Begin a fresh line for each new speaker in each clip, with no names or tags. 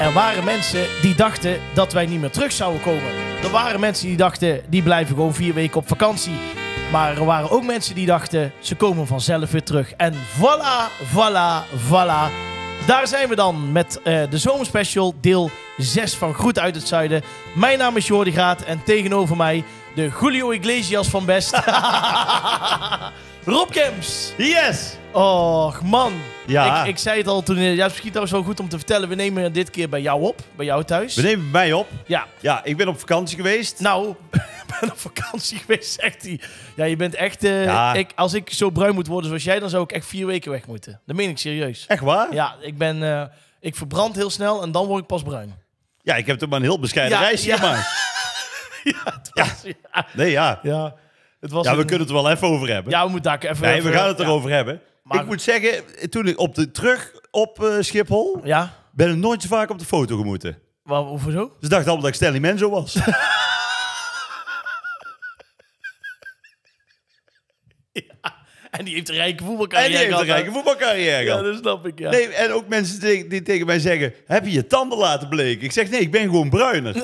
Er waren mensen die dachten dat wij niet meer terug zouden komen. Er waren mensen die dachten, die blijven gewoon vier weken op vakantie. Maar er waren ook mensen die dachten, ze komen vanzelf weer terug. En voilà, voilà, voilà. Daar zijn we dan met eh, de zomerspecial, deel 6 van Groet uit het Zuiden. Mijn naam is Jordi Graat en tegenover mij de Julio Iglesias van Best. Rob Kemps.
Yes!
Och man,
Ja.
ik, ik zei het al toen. eh, Ja, het is misschien trouwens wel goed om te vertellen. We nemen dit keer bij jou op, bij jou thuis.
We nemen mij op.
Ja,
Ja, ik ben op vakantie geweest.
nou, ik ben op vakantie geweest, zegt hij. Ja, je bent echt. eh,
Ja.
ik, als ik zo bruin moet worden zoals jij, dan zou ik echt vier weken weg moeten. Dat meen ik serieus.
Echt waar? Ja,
Ja, ik ben. eh, ik verbrand heel snel en dan word ik pas bruin.
ik heb toch maar een heel bescheiden
Ja,
reisje
ja.
gemaakt.
ja, het was. Ja,
Nee, ja.
ja, het was
Ja, we
een-
kunnen het er wel even over hebben.
Ja, we moeten daar even.
nee, we
even-
gaan het
ja.
erover hebben.
Maar-
Ik moet zeggen, toen ik op de terug op eh, Schiphol,
Ja,
ben ik nooit zo vaak op de foto gemoeten.
waar, hoezo zo?
Dus ik dacht allemaal dat ik Stanley Menzo was.
En die heeft een rijke
en
voetbalcarrière.
die heeft een
gehad, hè?
rijke voetbalcarrière
Ja,
gehad.
dat snap ik, ja.
Nee, en ook mensen die, die tegen mij zeggen, heb je je tanden laten bleken? Ik zeg, nee, ik ben gewoon bruiner.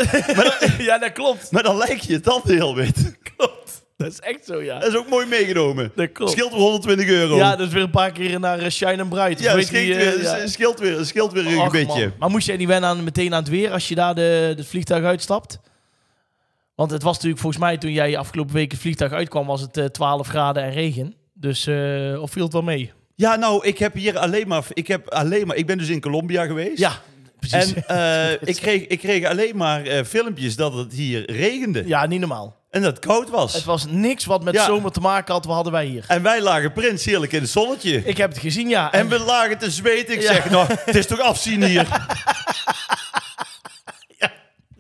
ja, dat klopt.
maar dan lijken je tanden heel wit.
Klopt. Dat is echt zo, ja.
Dat is ook mooi meegenomen.
Dat klopt.
Scheelt weer 120 euro.
Ja, dat is weer een paar keer naar eh, Shine and Bright.
Ja,
Weet
scheelt,
die, eh,
weer,
ja.
scheelt weer, scheelt weer een
Och,
beetje.
man. Maar moest jij niet wennen aan, meteen aan het weer als je daar de, het vliegtuig uitstapt? Want het was natuurlijk volgens mij toen jij afgelopen week het vliegtuig uitkwam, was het eh, 12 graden en regen. Dus, eh, of viel het wel mee?
Ja, nou, ik heb hier alleen maar, ik heb alleen maar, ik ben dus in Colombia geweest.
Ja, precies.
En eh, ik, kreeg, ik kreeg alleen maar eh, filmpjes dat het hier regende
ja, niet normaal.
en dat het koud was.
Het was niks wat met
Ja.
zomer te maken had, wat hadden wij hier.
En wij lagen prins heerlijk in het zonnetje.
Ik heb het gezien, ja.
En we lagen te zweten. Ik
Ja.
zeg, nou, het is toch afzien hier.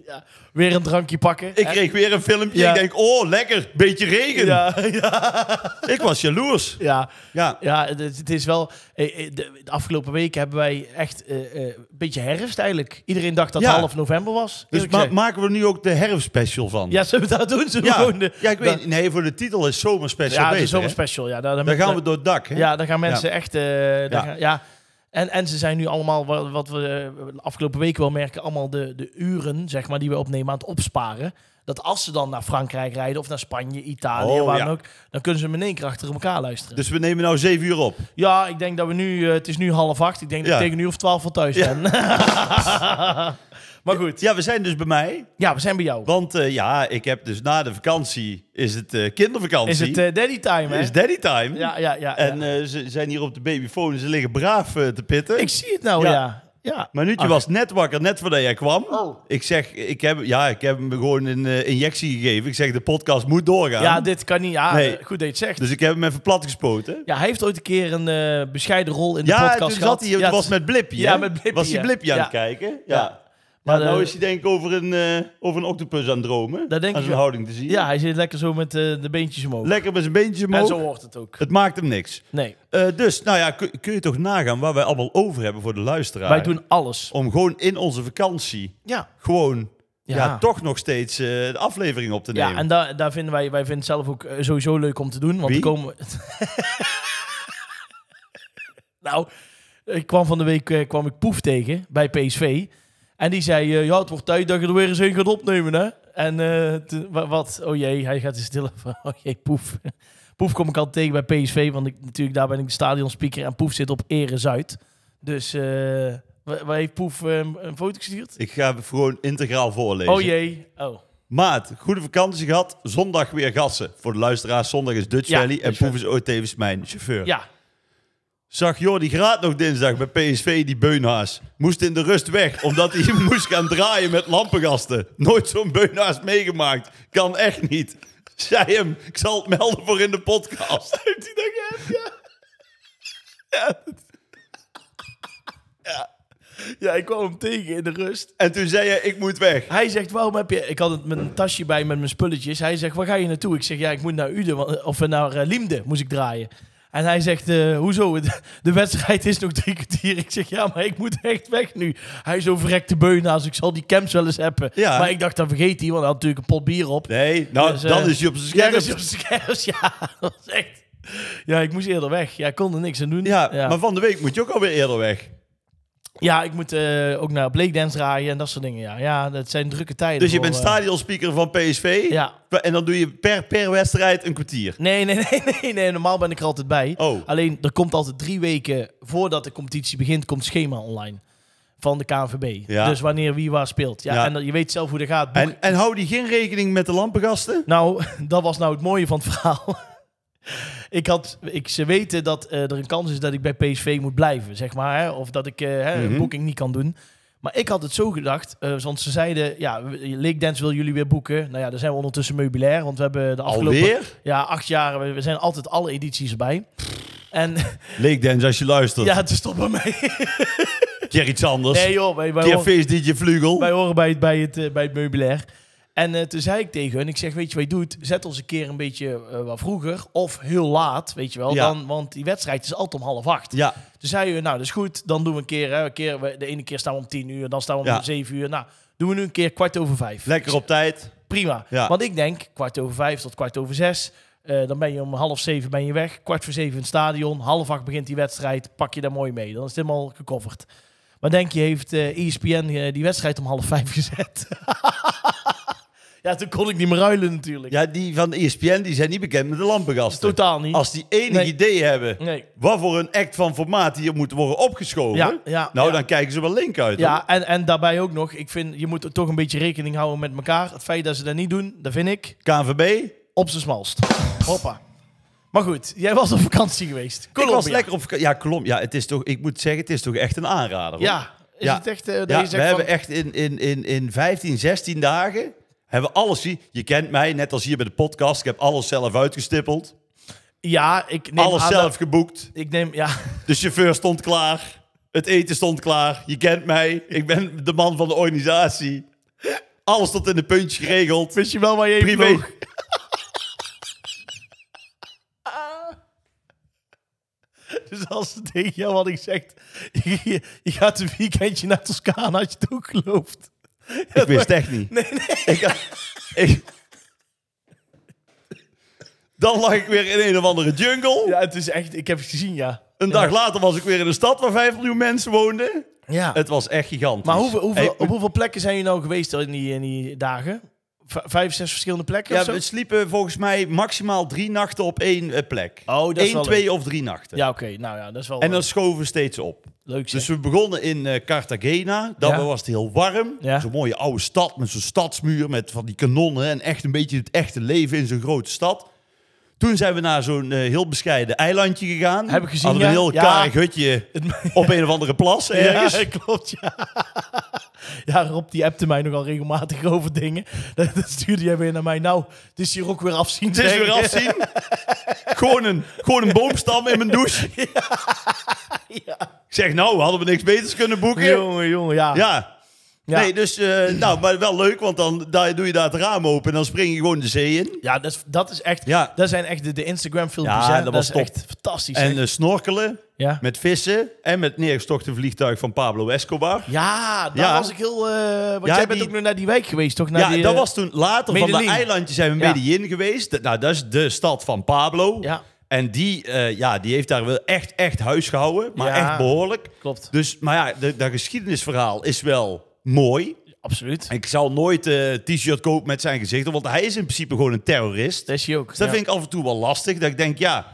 ja, weer een drankje pakken.
Ik
hè?
kreeg weer een filmpje.
Ja.
Ik denk, oh, lekker, beetje regen.
Ja, ja.
Ik was jaloers.
ja.
Ja,
Ja, het, het is wel. eh, eh, De de afgelopen weken hebben wij echt eh, eh, een beetje herfst eigenlijk. Iedereen dacht dat
Ja.
half november was.
dus ma- maken we er nu ook de herfstspecial van.
ja, zullen we dat doen? Zullen we
ja.
gewoon de,
Ja, ik
da-
weet Nee, voor de titel is zomerspecial
ja, de
beter, hè?
zomerspecial. Ja, daar, daar-
Dan gaan
daar-
we door het dak, hè?
ja, daar gaan mensen echt. eh, daar
Ja.
gaan- ja. En, en ze zijn nu allemaal, wa- wat we eh, de afgelopen weken wel merken, allemaal de, de uren zeg maar, die we opnemen aan het opsparen. Dat als ze dan naar Frankrijk rijden of naar Spanje, Italië,
Oh,
waar
ja.
dan ook, dan kunnen ze hem in één keer achter elkaar luisteren.
Dus we nemen nou zeven uur op.
Ja, ik denk dat we nu... eh, het is nu half acht. Ik denk dat
Ja.
ik tegen nu of twaalf al thuis
Ja.
ben. maar goed.
Ja, we zijn dus bij mij.
Ja, we zijn bij jou.
Want eh, ja, ik heb dus na de vakantie is het eh, kindervakantie.
Is het eh, daddy time, hè?
Is daddy time.
Ja, ja, ja.
En
ja.
eh, ze zijn hier op de babyfoon en ze liggen braaf eh, te pitten.
ik zie het nou,
Ja.
ja. ja. Ah.
Manuutje
Ach.
was net wakker, net voordat jij kwam.
Oh.
Ik zeg, ik heb, ja, ik heb hem gewoon een eh, injectie gegeven. Ik zeg, de podcast moet doorgaan.
Ja, dit kan niet. Ja,
Nee.
eh, goed dat je het zegt.
dus ik heb hem even plat gespoten.
Ja, hij heeft ooit een keer een eh, bescheiden rol in de
Ja,
podcast
toen
gehad.
zat hij,
ja,
het was met Blippy.
ja,
hè?
met Blippy,
Was hij
ja.
Blippy aan
Ja.
het kijken? Ja.
Ja.
Maar
Maar,
nou
eh,
is hij denk ik over een, eh, over een octopus aan het dromen.
Dat denk
aan
ik
zijn
wel.
houding te zien.
Ja, hij zit lekker zo met eh, de beentjes omhoog.
Lekker met zijn beentjes omhoog.
En zo hoort het ook.
Het maakt hem niks.
Nee,
Eh, dus, nou ja, kun, kun je toch nagaan waar wij allemaal over hebben voor de luisteraar.
wij doen alles.
Om gewoon in onze vakantie
Ja.
gewoon ja.
Ja.
toch nog steeds eh, de aflevering op te nemen.
Ja, en daar daar vinden wij, wij vinden het zelf ook eh, sowieso leuk om te doen. Want
Wie?
er komen. nou, ik kwam van de week eh, kwam ik Poef tegen bij PSV. En die zei: eh, Ja, het wordt tijd dat je er weer eens een gaat opnemen, hè? En eh, toen- wa- wat? Oh jee, hij gaat de stille. Oh jee, Poef. Poef kom ik al tegen bij PSV, want ik, natuurlijk daar ben ik de stadionspeaker. En Poef zit op Ere Zuid. Dus eh, wa- waar heeft Poef eh, een foto gestuurd?
Ik ga het gewoon integraal voorlezen.
Oh jee. Oh.
Maat, goede vakantie gehad. Zondag weer gassen. Voor de luisteraars, zondag is Dutch
Ja,
Valley en
Dutch
Poef is ooit tevens mijn chauffeur.
Ja.
Zag Jordi Graat nog dinsdag bij PSV die beunhaas. Moest in de rust weg, omdat hij moest gaan draaien met lampengasten. Nooit zo'n beunhaas meegemaakt. Kan echt niet. Zei hem, ik zal het melden voor in de podcast. Heeft hij dat
Ja, ik kwam hem tegen in de rust.
En toen zei hij, ik moet weg.
Hij zegt, waarom heb je... Ik had het- mijn tasje bij met mijn spulletjes. Hij zegt, waar ga je naartoe? Ik zeg, ja, ik moet naar Uden, want- of naar eh, Liemde moest ik draaien. En hij zegt, eh, hoezo? De- De wedstrijd is nog drie kwartier. Ik zeg, ja, maar ik moet echt weg nu. Hij is overrekte beunhaas. dus Ik zal die camps wel eens hebben.
Ja.
Maar ik dacht, dan vergeet hij, want hij had natuurlijk een pot bier op.
Nee, nou,
Dus, eh,
dan is hij op zijn
Ja, dat is
scherm.
op zijn kerst. Ja, dat was echt... Ja, ik moest eerder weg. Ja, ik kon er niks aan doen.
Ja, maar van de week moet je ook alweer eerder weg.
Ja, ik moet eh, ook naar breakdance draaien en dat soort dingen. Ja, ja dat zijn drukke tijden.
Dus je
voor,
bent
eh,
stadionspeaker van PSV.
Ja.
En dan doe je per, per wedstrijd een kwartier.
Nee, nee, nee, nee, nee. Normaal ben ik er altijd bij.
Oh.
Alleen, er komt altijd drie weken voordat de competitie begint, komt schema online van de KNVB.
Ja.
Dus wanneer wie waar speelt. Ja,
Ja.
En dat, je weet zelf hoe dat gaat. Boek-
En, en hou die geen rekening met de lampengasten?
Nou, dat was nou het mooie van het verhaal. Ik had, ik, ze weten dat eh, er een kans is dat ik bij PSV moet blijven, zeg maar. Hè? Of dat ik eh, hè, een
Mhm.
boeking niet kan doen. Maar ik had het zo gedacht, eh, want ze zeiden... Ja, Lake Dance wil jullie weer boeken. Nou ja, daar zijn we ondertussen meubilair, want we hebben de afgelopen...
Alweer?
Ja, acht jaar. We, we zijn altijd alle edities erbij. En
Leek Dens, als je luistert.
ja, het is toch bij mij.
Keer iets anders.
Nee joh, wij, wij,
Keer
horen,
feest DJ Vlugel.
wij horen bij het, bij het, eh, bij het meubilair. En eh, toen zei ik tegen hun, ik zeg, weet je wat je doet? Zet ons een keer een beetje eh, wat vroeger of heel laat, weet je wel.
Ja.
Dan, want die wedstrijd is altijd om half acht.
Ja,
Toen zei hun, nou dat is goed, dan doen we een keer. Hè, een keer we- de ene keer staan we om tien uur, dan staan we om
Ja.
zeven uur. Nou, doen we nu een keer kwart over vijf.
lekker op tijd.
prima.
Ja.
Want ik denk, kwart over vijf tot kwart over zes. eh, dan ben je om half zeven ben je weg. Kwart voor zeven in het stadion. Half acht begint die wedstrijd. Pak je daar mooi mee. Dan is het helemaal gecoverd. Maar denk je, heeft eh ESPN eh, die wedstrijd om half vijf gezet? ja, toen kon ik niet meer ruilen natuurlijk.
Ja, die van E ESPN die zijn niet bekend met de lampengasten.
Totaal niet.
Als die enig
Nee.
idee hebben
Nee.
wat voor een act van formaat hier moet worden opgeschoven.
Ja, ja,
nou,
ja.
dan kijken ze wel link uit. hoor.
Ja, en, en daarbij ook nog. Ik vind, je moet toch een beetje rekening houden met elkaar. Het feit dat ze dat niet doen, dat vind ik
KNVB.
op zijn smalst. Hoppa. Maar goed, jij was op vakantie geweest.
Ik was
Colombia.
lekker op vaka- Ja, Colombia. Ja, het is toch, ik moet zeggen, het is toch echt een aanrader. hoor.
Ja, is
Ja.
het echt... eh, dat
Ja,
je
we
zegt van-
hebben echt in, in, in, in 15, 16 dagen hebben we alles zien. Je kent mij, net als hier bij de podcast. Ik heb alles zelf uitgestippeld.
Ja, ik neem
alles
aan
zelf
dat-
geboekt.
ik neem, ja,
De chauffeur stond klaar. Het eten stond klaar. Je kent mij. Ik ben de man van de organisatie. Alles tot in de puntjes geregeld.
wist je wel waar je heen
Privé.
vloog? Dus als ze tegen jou had gezegd, je, je gaat een weekendje naar Toscane, had je het ook geloofd.
Ik wist echt niet.
Nee, nee.
Ik, had- ik- dan lag ik weer in een of andere jungle.
Ja, het is echt, ik heb het gezien, ja.
Een dag later was ik weer in een stad waar 5 miljoen mensen woonden.
Ja.
Het was echt gigantisch.
maar hoeveel, hoeveel,
Hey,
op hoeveel plekken zijn jullie nou geweest in die, in die dagen? V- vijf, zes verschillende plekken
ja,
of zo?
we sliepen volgens mij maximaal drie nachten op één eh, plek.
Oh, dat is
Eén,
wel
twee of drie nachten.
Ja, oké. Nou ja, dat is wel
En
en
dan schoven we steeds op.
leuk zeg.
Dus we begonnen in eh, Cartagena. Dan
Ja.
was het heel warm.
Ja.
Zo'n mooie oude stad met zo'n stadsmuur met van die kanonnen. En echt een beetje het echte leven in zo'n grote stad. Toen zijn we naar zo'n eh, heel bescheiden eilandje gegaan.
Heb ik gezien,
Hadden we een
ja.
heel
Ja.
karig hutje op een of andere plas ergens.
Ja, klopt, ja. Ja, Rob, die appte mij nogal regelmatig over dingen. Dat dat stuurde jij weer naar mij. Nou, het is hier ook weer afzien.
Het is
zeg.
weer afzien. gewoon, een, gewoon een boomstam in mijn douche. Ik zeg, nou, hadden we niks beters kunnen boeken?
Jongen, jongen, ja.
Ja.
Ja.
Nee, dus, eh, nou, maar wel leuk, want dan daar doe je daar het raam open en dan spring je gewoon de zee in.
Ja, dat, is- dat is echt...
Ja.
Dat zijn echt de, de Instagram-filmpjes.
Ja,
hè.
dat was
is
top.
echt fantastisch.
En
hè.
eh, snorkelen
ja.
met vissen en met neergestochten vliegtuig van Pablo Escobar.
ja, daar
Ja.
was ik heel... eh, want
Ja,
jij bent
die-
ook nu naar die wijk geweest, toch? Naar
Ja,
die,
dat
eh,
was toen later van
Medellin.
de eilandjes zijn we
Ja.
in Medellin geweest. Dat- Nou, dat is de stad van Pablo.
Ja.
En die, eh, ja, die heeft daar wel echt, echt huis gehouden, maar
Ja.
echt behoorlijk.
Klopt,
Dus, maar ja, de- dat geschiedenisverhaal is wel mooi.
absoluut.
Ik zal nooit eh, een t-shirt kopen met zijn gezicht, want hij is in principe gewoon een terrorist.
Dat is je ook.
Dus dat
ja.
vind ik af en toe wel lastig. Dat ik denk, ja,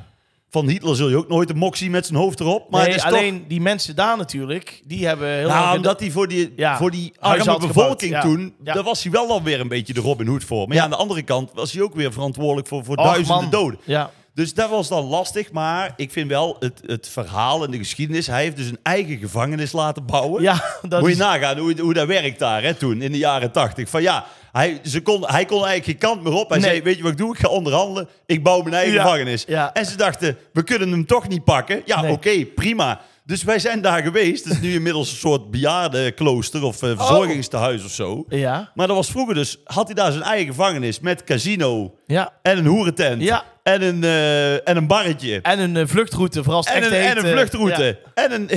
van Hitler zul je ook nooit een moxie met zijn hoofd erop. Maar
nee,
het is
alleen die mensen daar natuurlijk, die hebben heel
toch... Nou,
lang-
omdat hij voor die,
Ja,
voor die
huis
arme
had gebouwd,
bevolking
ja.
toen...
Ja.
daar was hij wel dan weer een beetje de Robin Hood voor. Maar ja, aan de andere kant was hij ook weer verantwoordelijk voor, voor
Och,
duizenden
man.
doden.
Ja,
Dus dat was dan lastig. Maar ik vind wel het, het verhaal en de geschiedenis... Hij heeft dus een eigen gevangenis laten bouwen.
ja dat
Moet
is...
je nagaan hoe, hoe dat werkt daar hè, toen, in de jaren tachtig. Van ja, hij, ze kon, hij kon eigenlijk geen kant meer op. Hij
Nee.
zei, weet je wat ik doe? Ik ga onderhandelen. Ik bouw mijn eigen
Ja,
gevangenis.
ja.
En ze dachten, we kunnen hem toch niet pakken. Ja,
Nee.
oké, prima. Dus wij zijn daar geweest. Het is nu inmiddels een soort bejaardenklooster of eh, verzorgingstehuis of
Oh.
zo.
Ja,
Maar dat was vroeger dus, had hij daar zijn eigen gevangenis met casino
ja.
en een hoerentent
Ja.
en, een, eh, en een barretje.
En een eh, vluchtroute, vooral als het
En een,
echt heet,
en een
eh,
vluchtroute.
ja.
En een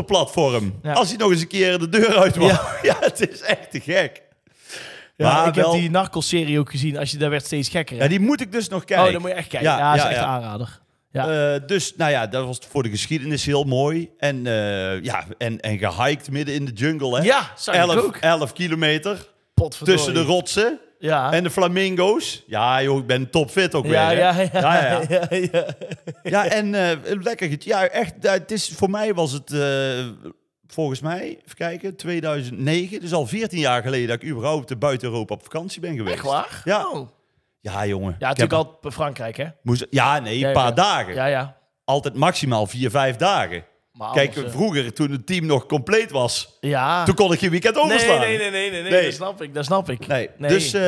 helikopterplatform.
Ja.
Als hij nog eens een keer de deur uit mag. Ja,
Ja.
het is echt te gek.
Ja,
maar
ik
wel-
heb die Narcos-serie ook gezien. Als je daar werd steeds gekker. hè?
Ja, die moet ik dus nog kijken.
oh, dan moet je echt kijken. Ja, dat is echt een aanrader.
Eh, dus nou ja, dat was voor de geschiedenis heel mooi. En, eh, ja, en, en gehiked midden in de jungle. Hè?
Ja, zag ik
Elf-
ook.
11 kilometer
Potverdorie.
tussen de rotsen.
Ja.
En de flamingo's. Ja, joh, ik ben topfit ook
Ah. ja,
weer.
ja,
hè?
ja,
ja.
ja, ja,
Ja, en eh, lekker. get- Ja, echt. ja, het is, voor mij was het eh, volgens mij, even kijken, 2009. Dus al 14 jaar geleden dat ik überhaupt eh, buiten Europa op vakantie ben geweest.
Echt waar?
Ja.
Oh.
Ja, jongen.
Ja,
Ik heb-
natuurlijk al Frankrijk, hè?
moest- ja nee,
Ja,
een paar
ja.
dagen.
Ja, ja.
Altijd maximaal vier, vijf dagen.
Maar
Kijk,
anders, eh,
vroeger, toen het team nog compleet was,
Ja.
toen kon ik je weekend
nee,
overslaan.
nee, nee, nee, nee, nee,
Nee.
Dat snap ik, dat snap ik.
Nee,
Nee.
Dus, eh,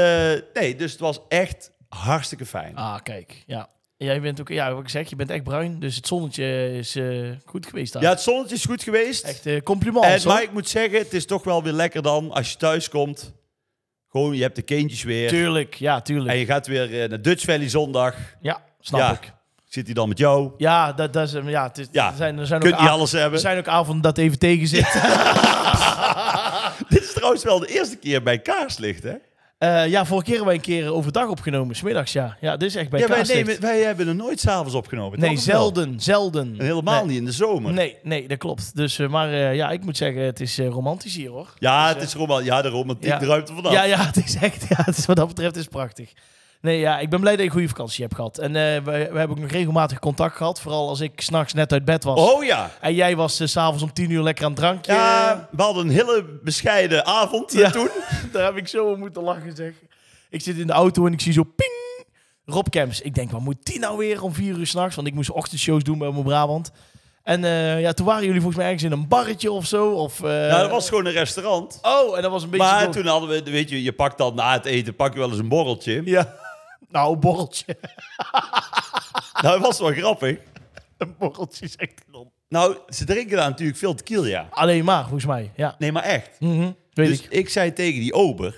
nee, dus het was echt hartstikke fijn.
Ah, kijk. Ja. En Jij bent ook, ja, wat ik zeg, je bent echt bruin, dus het zonnetje is eh, goed geweest daar.
Ja, het zonnetje is goed geweest.
Echt eh complimenten.
en, maar ik moet zeggen, het is toch wel weer lekker dan als je thuis komt. Gewoon, je hebt de kindjes weer.
Tuurlijk, ja,
En
tuurlijk.
je gaat weer eh, naar Dutch Valley zondag.
Ja, snap
Ja.
ik.
Zit hij dan met jou?
Ja, dat, dat is, hem, ja, het is,
Ja.
Er zijn, er zijn
Kunt
ook
niet
av-
alles
Er
hebben.
zijn ook avonden dat even tegen zit.
Dit is trouwens wel de eerste keer bij kaarslicht, hè?
Eh, ja, vorige keer hebben wij een keer overdag opgenomen, smiddags, ja. Ja, dit is echt bij
Ja, wij,
Kaarslicht.
nemen, wij hebben er nooit s'avonds opgenomen.
Nee,
toch? Of wel?
zelden, zelden.
En helemaal
Nee.
niet in de zomer.
Nee, nee, dat klopt. Dus, eh, maar eh, ja, ik moet zeggen, het is eh, romantisch hier, hoor.
Ja,
Dus,
het is roman ja, de romantiek
ja.
ruimt er vanaf.
Ja, ja, het is echt, ja, het is, wat dat betreft is het prachtig. Nee, ja, ik ben blij dat je een goede vakantie hebt gehad. En eh, we, we hebben ook nog regelmatig contact gehad. Vooral als ik s'nachts net uit bed was.
Oh ja.
En jij was eh, s s'avonds om tien uur lekker aan het drankje.
Ja, we hadden een hele bescheiden avond eh,
Ja.
toen.
Daar heb ik zo om moeten lachen, zeg. Ik zit in de auto en ik zie zo ping. Rob Kemps. Ik denk, wat moet die nou weer om vier uur s'nachts? Want ik moest ochtendshows doen bij mijn Brabant. En eh, ja, toen waren jullie volgens mij ergens in een barretje of zo. Of, eh,
Ja, Nou, dat was gewoon een restaurant.
Oh, en dat was een beetje...
Maar
zo-
toen hadden we, weet je, je pakt dan na het eten, pak je wel eens een borreltje.
Ja. Nou, een borreltje.
Nou, dat was wel grappig.
Een borreltje is echt non.
Nou, ze drinken daar natuurlijk veel tequila.
Alleen maar, volgens mij. Ja.
Nee, maar echt.
Mhm, Weet
dus
ik.
ik. zei tegen die ober...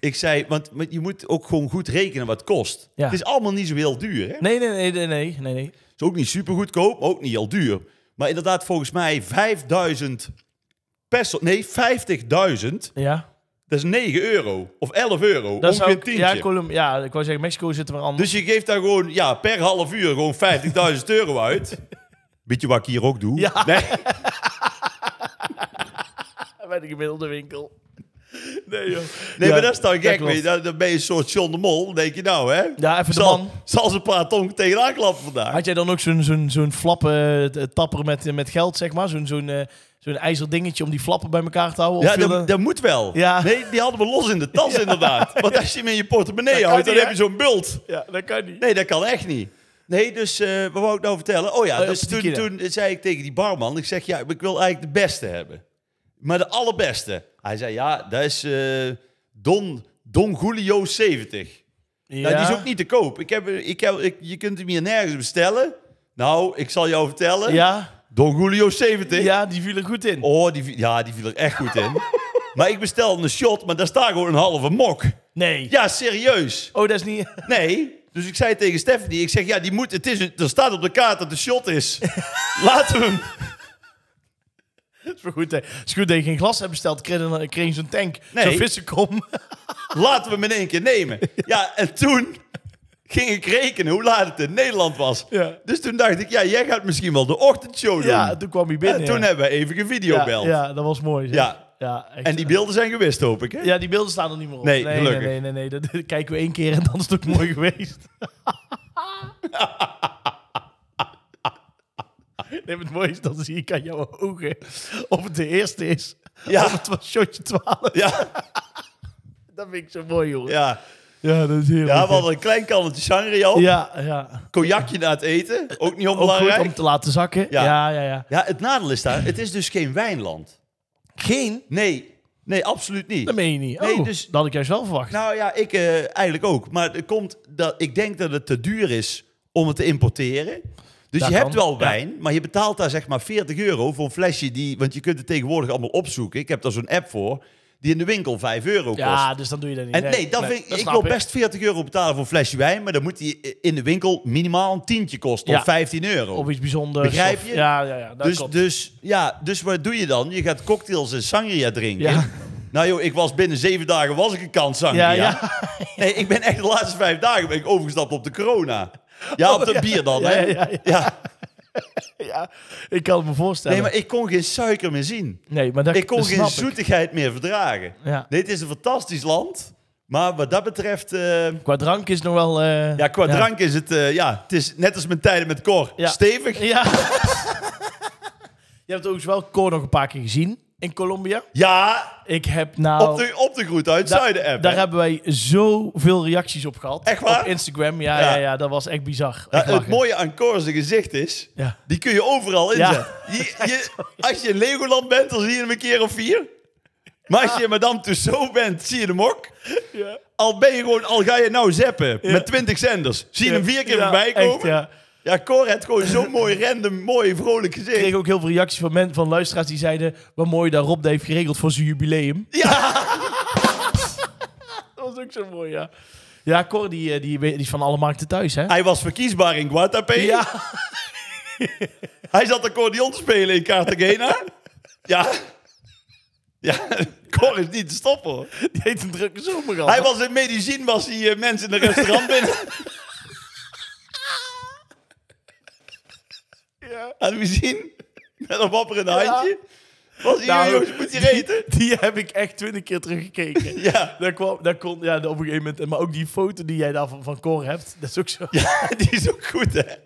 Ik zei, want want je moet ook gewoon goed rekenen wat het kost.
Ja.
Het is allemaal niet zo heel duur. Hè?
Nee, nee, nee, nee, nee, nee, nee.
Het is ook niet super goedkoop, maar ook niet heel duur. Maar inderdaad, volgens mij 5000 peso... Nee, 50.000.
Ja.
Dat is 9 euro. Of 11 euro.
Dat
ongeveer
zou
een
ik, ja,
tientje.
Colum, ja, ik wou zeggen, Mexico zit er maar aan.
dus je geeft daar gewoon ja, per half uur gewoon 50.000 euro uit. Beetje wat ik hier ook doe.
Ja.
Nee,
bij de gemiddelde winkel. Nee, joh.
nee
Ja,
maar dat is dan
dat
gek.
klopt.
weet je. Dan dan ben je een soort John de Mol. Dan denk je nou, hè?
Ja, even de
Zal,
man.
zal ze een paar tonken tegenaan klappen vandaag.
Had jij dan ook zo'n zo'n zo'n flappen eh, tapper met, eh, met geld, zeg maar? Zo'n zo'n eh, zo'n ijzer dingetje om die flappen bij elkaar te houden? Of
Ja,
viel
dat,
er-
dat moet wel.
Ja.
Nee, die hadden we los in de tas inderdaad. Want als je hem in je portemonnee
kan
houdt, dan
niet,
heb je zo'n bult.
ja, dat kan niet.
Nee, dat kan echt niet. Nee, dus eh, wat wou ik nou vertellen? Oh ja,
Oh ja,
dus
op de
toen,
tequila.
toen zei ik tegen die barman, ik zeg, ja, ik wil eigenlijk de beste hebben. Maar de allerbeste. Hij zei, ja, dat is eh, Don, Don Julio 70.
Ja.
Nou, die is ook niet te koop. Ik heb, ik heb, ik, je kunt hem hier nergens bestellen. Nou, ik zal jou vertellen.
Ja,
Don Julio 70.
ja, die viel er goed in.
Oh, die, vi- ja, die viel er echt goed in. maar ik bestelde een shot, maar daar staat gewoon een halve mok.
Nee.
Ja, serieus.
Oh, dat is niet...
Nee. Dus ik zei tegen Stephanie, ik zeg, ja, die moet, het is, een- er staat op de kaart dat het een shot is. Laten we hem.
Het is, wel goed, hè. Het is goed dat je geen glas hebt besteld. Ik kreeg, een- ik kreeg zo'n tank,
Nee.
zo'n vissenkom.
Laten we hem in één keer nemen. Ja, en toen ging ik rekenen hoe laat het in Nederland was.
Ja.
Dus toen dacht ik, ja, jij gaat misschien wel de ochtendshow doen.
Ja, toen kwam hij binnen.
en toen
ja.
hebben we even gevideobeld.
ja, ja, dat was mooi. zeg.
Ja.
ja echt.
En die beelden zijn gewist, hoop ik, hè?
Ja, die beelden staan er niet meer op.
Nee,
nee,
gelukkig.
nee, nee, nee, nee. Dat kijken we één keer en dan is het ook mooi geweest. Nee, maar het mooie is, dan zie ik aan jouw ogen of het de eerste is.
Ja.
Of het was shotje 12.
Ja,
Dat vind ik zo mooi, joh.
ja.
ja dat is heel
ja we hadden een klein kannetje sangria op.
Ja, ja.
cognacje na het eten. Ook niet
Ook goed
onbelangrijk.
om te laten zakken. Ja,
Ja.
ja, ja. ja.
Ja, het nadeel is daar, het is dus geen wijnland.
Geen?
Nee, nee, absoluut
Dat
niet.
meen je niet. Oh,
Nee, dus-
dat had ik juist wel verwacht.
Nou ja, ik eh, eigenlijk ook. Maar het komt dat, ik denk dat het te duur is om het te importeren. Dus
Dat
je
kan,
hebt wel
ja.
wijn, maar je betaalt daar zeg maar 40 euro voor een flesje die... Want je kunt het tegenwoordig allemaal opzoeken. Ik heb daar zo'n app voor, die in de winkel 5 euro kost.
ja, dus dan doe je dat niet.
En nee, dat vind ik, ik
snap
wil best 40 euro betalen voor een flesje wijn, maar dan moet die in de winkel minimaal een tientje kosten
Ja.
of 15 euro.
Of iets bijzonders.
Begrijp
of-
je?
ja, ja, ja. Dat
Dus,
klopt.
dus, ja, dus wat doe je dan? Je gaat cocktails en sangria drinken.
Ja.
Nou joh, ik was binnen zeven dagen was ik een kant sangria.
Ja, ja.
Nee, ik ben echt de laatste vijf dagen ben ik overgestapt op de corona. Ja, op dat bier dan,
Oh, Ja,
hè?
ja, ja.
Ja.
ja, ik kan het me voorstellen.
Nee, maar ik kon geen suiker meer zien.
nee, maar dat,
Ik kon
dat
geen
snap
zoetigheid meer verdragen.
Ja.
Nee, het is een fantastisch land. Maar wat dat betreft... eh,
Qua drank is nog wel... eh,
ja, qua drank is het... eh, ja, het is net als mijn tijden met Cor.
Ja.
Stevig.
Ja. Je hebt ook wel Cor nog een paar keer gezien in Colombia.
Ja,
Ik heb nou...
op de, op de Groet uit
Da-
Zuiden app.
Daar
hè?
hebben wij zoveel reacties op gehad.
Echt waar?
Op Instagram, ja, ja.
Ja.
ja, dat was echt bizar.
Ja,
Echt
het
lachen.
mooie aan Cor's gezicht is...
Ja.
Die kun je overal inzetten.
Ja.
Je, je- als je in Legoland bent, dan zie je hem een keer of vier. Maar
Ah.
als je in Madame Tussauds bent, zie je hem ook.
Ja.
Al ben je gewoon, al ga je nou zappen met 20 zenders. Zie je hem vier keer
Ja,
voorbij komen.
echt,
ja.
ja.
Cor heeft gewoon zo'n mooi random, mooi, vrolijk gezicht.
Ik kreeg ook heel veel reacties van, men, van luisteraars die zeiden... wat mooi dat Rob dat heeft geregeld voor zijn jubileum.
Ja,
Dat was ook zo mooi, ja. Ja, Cor die, eh, die, die is van alle markten thuis, hè?
hij was verkiesbaar in Guatapé.
Ja,
Hij zat accordeon te spelen in Cartagena. ja. Ja, Cor is niet te stoppen hoor.
die heeft een drukke zomer gehad.
Hij was in medicijn, was hij eh, mensen in een restaurant binnen.
Ja.
Hadden we zien? Met een wapperend handje. Was hij,
Nou,
jongens, moet je reten?
Die heb ik echt twintig keer teruggekeken.
Ja,
Daar kwam, daar kon, ja, op een gegeven moment... Maar ook die foto die jij daar van, van Cor hebt, dat is ook zo...
ja, die is ook goed hè.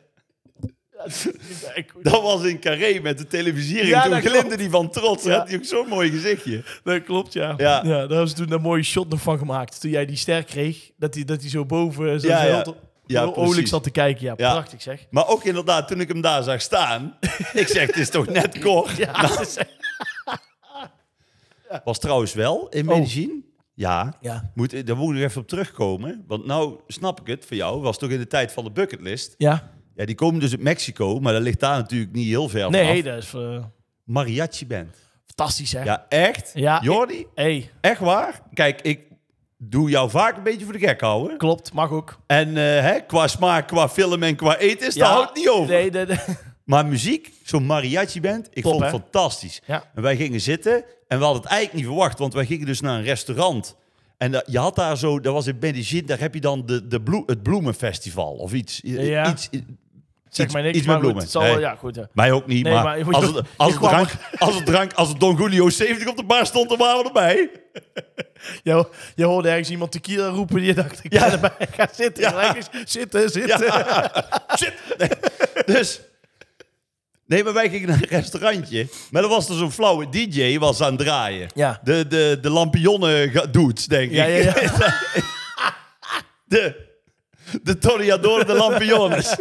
Ja, dat is echt goed.
Dat was in Carré met de televisiering.
Ja,
toen
dat
glimde
klopt.
die van trots.
Ja.
Daar had hij ook zo'n mooi gezichtje.
Dat klopt, ja.
Ja.
ja. daar hebben ze toen een mooie shot nog van gemaakt. Toen jij die ster kreeg, dat hij dat die zo boven eh, zo
Ja,
heel
ja.
to-
Ja,
heel
precies.
oorlijk zat te kijken. Ja,
Ja.
prachtig zeg.
Maar ook inderdaad, toen ik hem daar zag staan. ik zeg, het is toch net Cor?
Ja, dat is echt-
Was trouwens wel in
Oh.
Medellin. Ja.
ja.
Moet, daar moet ik nog even op terugkomen. Want nou snap ik het van jou. Was toch in de tijd van de bucketlist.
ja.
Ja, die komen dus uit Mexico. Maar dat ligt daar natuurlijk niet heel ver vanaf.
Nee, dat is eh,
Mariachi band.
fantastisch hè.
Ja, echt?
Ja.
Jordi,
hey,
echt waar? Kijk, ik doe jou vaak een beetje voor de gek houden.
klopt, mag ook.
En eh, hè, qua smaak, qua film en qua eten is
Ja.
daar houdt niet over.
Nee, dat- dat-
Maar muziek, zo'n mariachi band, ik
Top,
vond het
hè?
fantastisch.
Ja.
En wij gingen zitten en we hadden het eigenlijk niet verwacht, want wij gingen dus naar een restaurant. En dat, je had daar zo, dat was in Medellin, daar heb je dan de, de bloe- het bloemenfestival of iets. I-
Ja.
iets i-
zeg
iets-
maar niks,
iets
maar
met
goed,
bloemen.
het zal
Nee.
wel- ja, goed. hè.
Mij ook niet,
Nee,
maar,
maar je moet
als,
toch-
het, als,
je
het
kwam
drank, als het drank, als het Don Julio 70 op de bar stond, dan waren we erbij.
Je, ho- je hoorde ergens iemand tequila roepen die je dacht, ik
Ja.
ga erbij, ga zitten.
Ja.
gelijk eens. Zitten, zitten.
Shit. Nee, dus. Nee, maar wij gingen naar een restaurantje. Maar er was er zo'n flauwe DJ was aan het draaien.
Ja.
De, de, de lampionnen ga- doet, denk
Ja,
ik.
ja, ja.
De, de Toreador de Lampiones.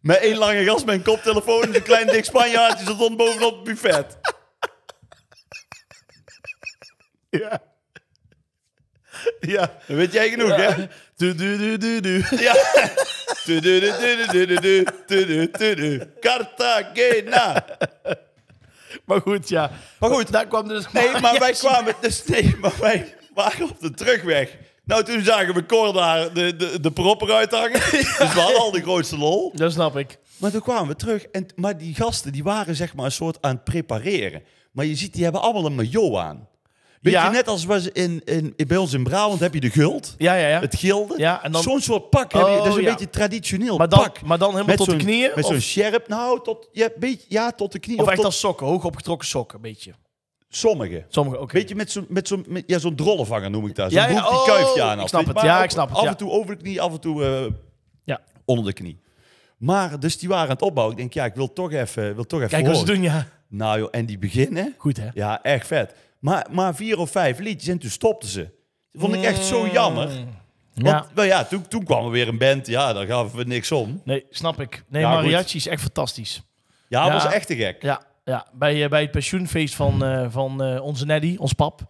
Met één lange gast met een koptelefoon en een klein dik Spanjaardje zat dan bovenop het buffet.
Ja. Ja.
Dan weet jij genoeg, hè?
Du, du, du, du, du.
Ja. Tudu-du-du-du-du-du, tudu-tudu. Cartagena.
Maar goed, ja.
Maar goed.
daar kwam dus...
Nee, maar wij kwamen... Dus nee, maar wij waren op de terugweg. Nou, toen zagen we Cor daar de, de, de propper uithangen. Dus we hadden al de grootste lol.
Dat snap ik.
Maar toen kwamen we terug. En, maar die gasten, die waren zeg maar een soort aan het prepareren. Maar je ziet, die hebben allemaal een maillot aan. Weet
Ja.
je, net als was in, in, bij ons in Brabant heb je de guld.
Ja, ja, ja.
Het gilde.
Ja, en dan-
Zo'n soort pak heb je. Dat is een
Oh, ja.
beetje traditioneel
Maar dan,
pak.
maar dan helemaal tot de
zo'n-
knieën?
Met
of,
zo'n sjerp, nou, tot, ja, beetje, ja, tot de knieën.
of echt
tot
als sokken? Hoog opgetrokken sokken, een beetje.
sommige.
Sommige ook.
Weet je, met zo'n met zo'n met- ja, zo'n drollenvanger noem ik dat. Zo'n
Ja, ja,
broek die
oh,
kuifje aan
ik
had,
snap
weet je,
het.
maar
Ja,
ook
ik snap het,
Af
ja.
en toe over de knie, af en toe eh,
Ja.
onder de knie. Maar, dus die waren aan het opbouwen. Ik denk, ja, ik wil toch even, wil toch even
Kijk wat ze
horen.
doen, ja.
Nou joh, en die beginnen.
Goed, hè?
Ja, echt vet. Maar, maar vier of vijf liedjes en toen stopten ze. Dat vond ik echt zo jammer. Want,
Mm, Ja.
Nou ja, toen, toen kwam er weer een band. Ja, daar gaven we niks om.
Nee, snap ik. Nee,
Ja,
mariachi
goed.
is echt fantastisch.
Ja, dat
Ja.
was echt te gek.
Ja, ja. Bij, eh, bij het pensioenfeest van, eh, van eh, onze Neddy, ons pap,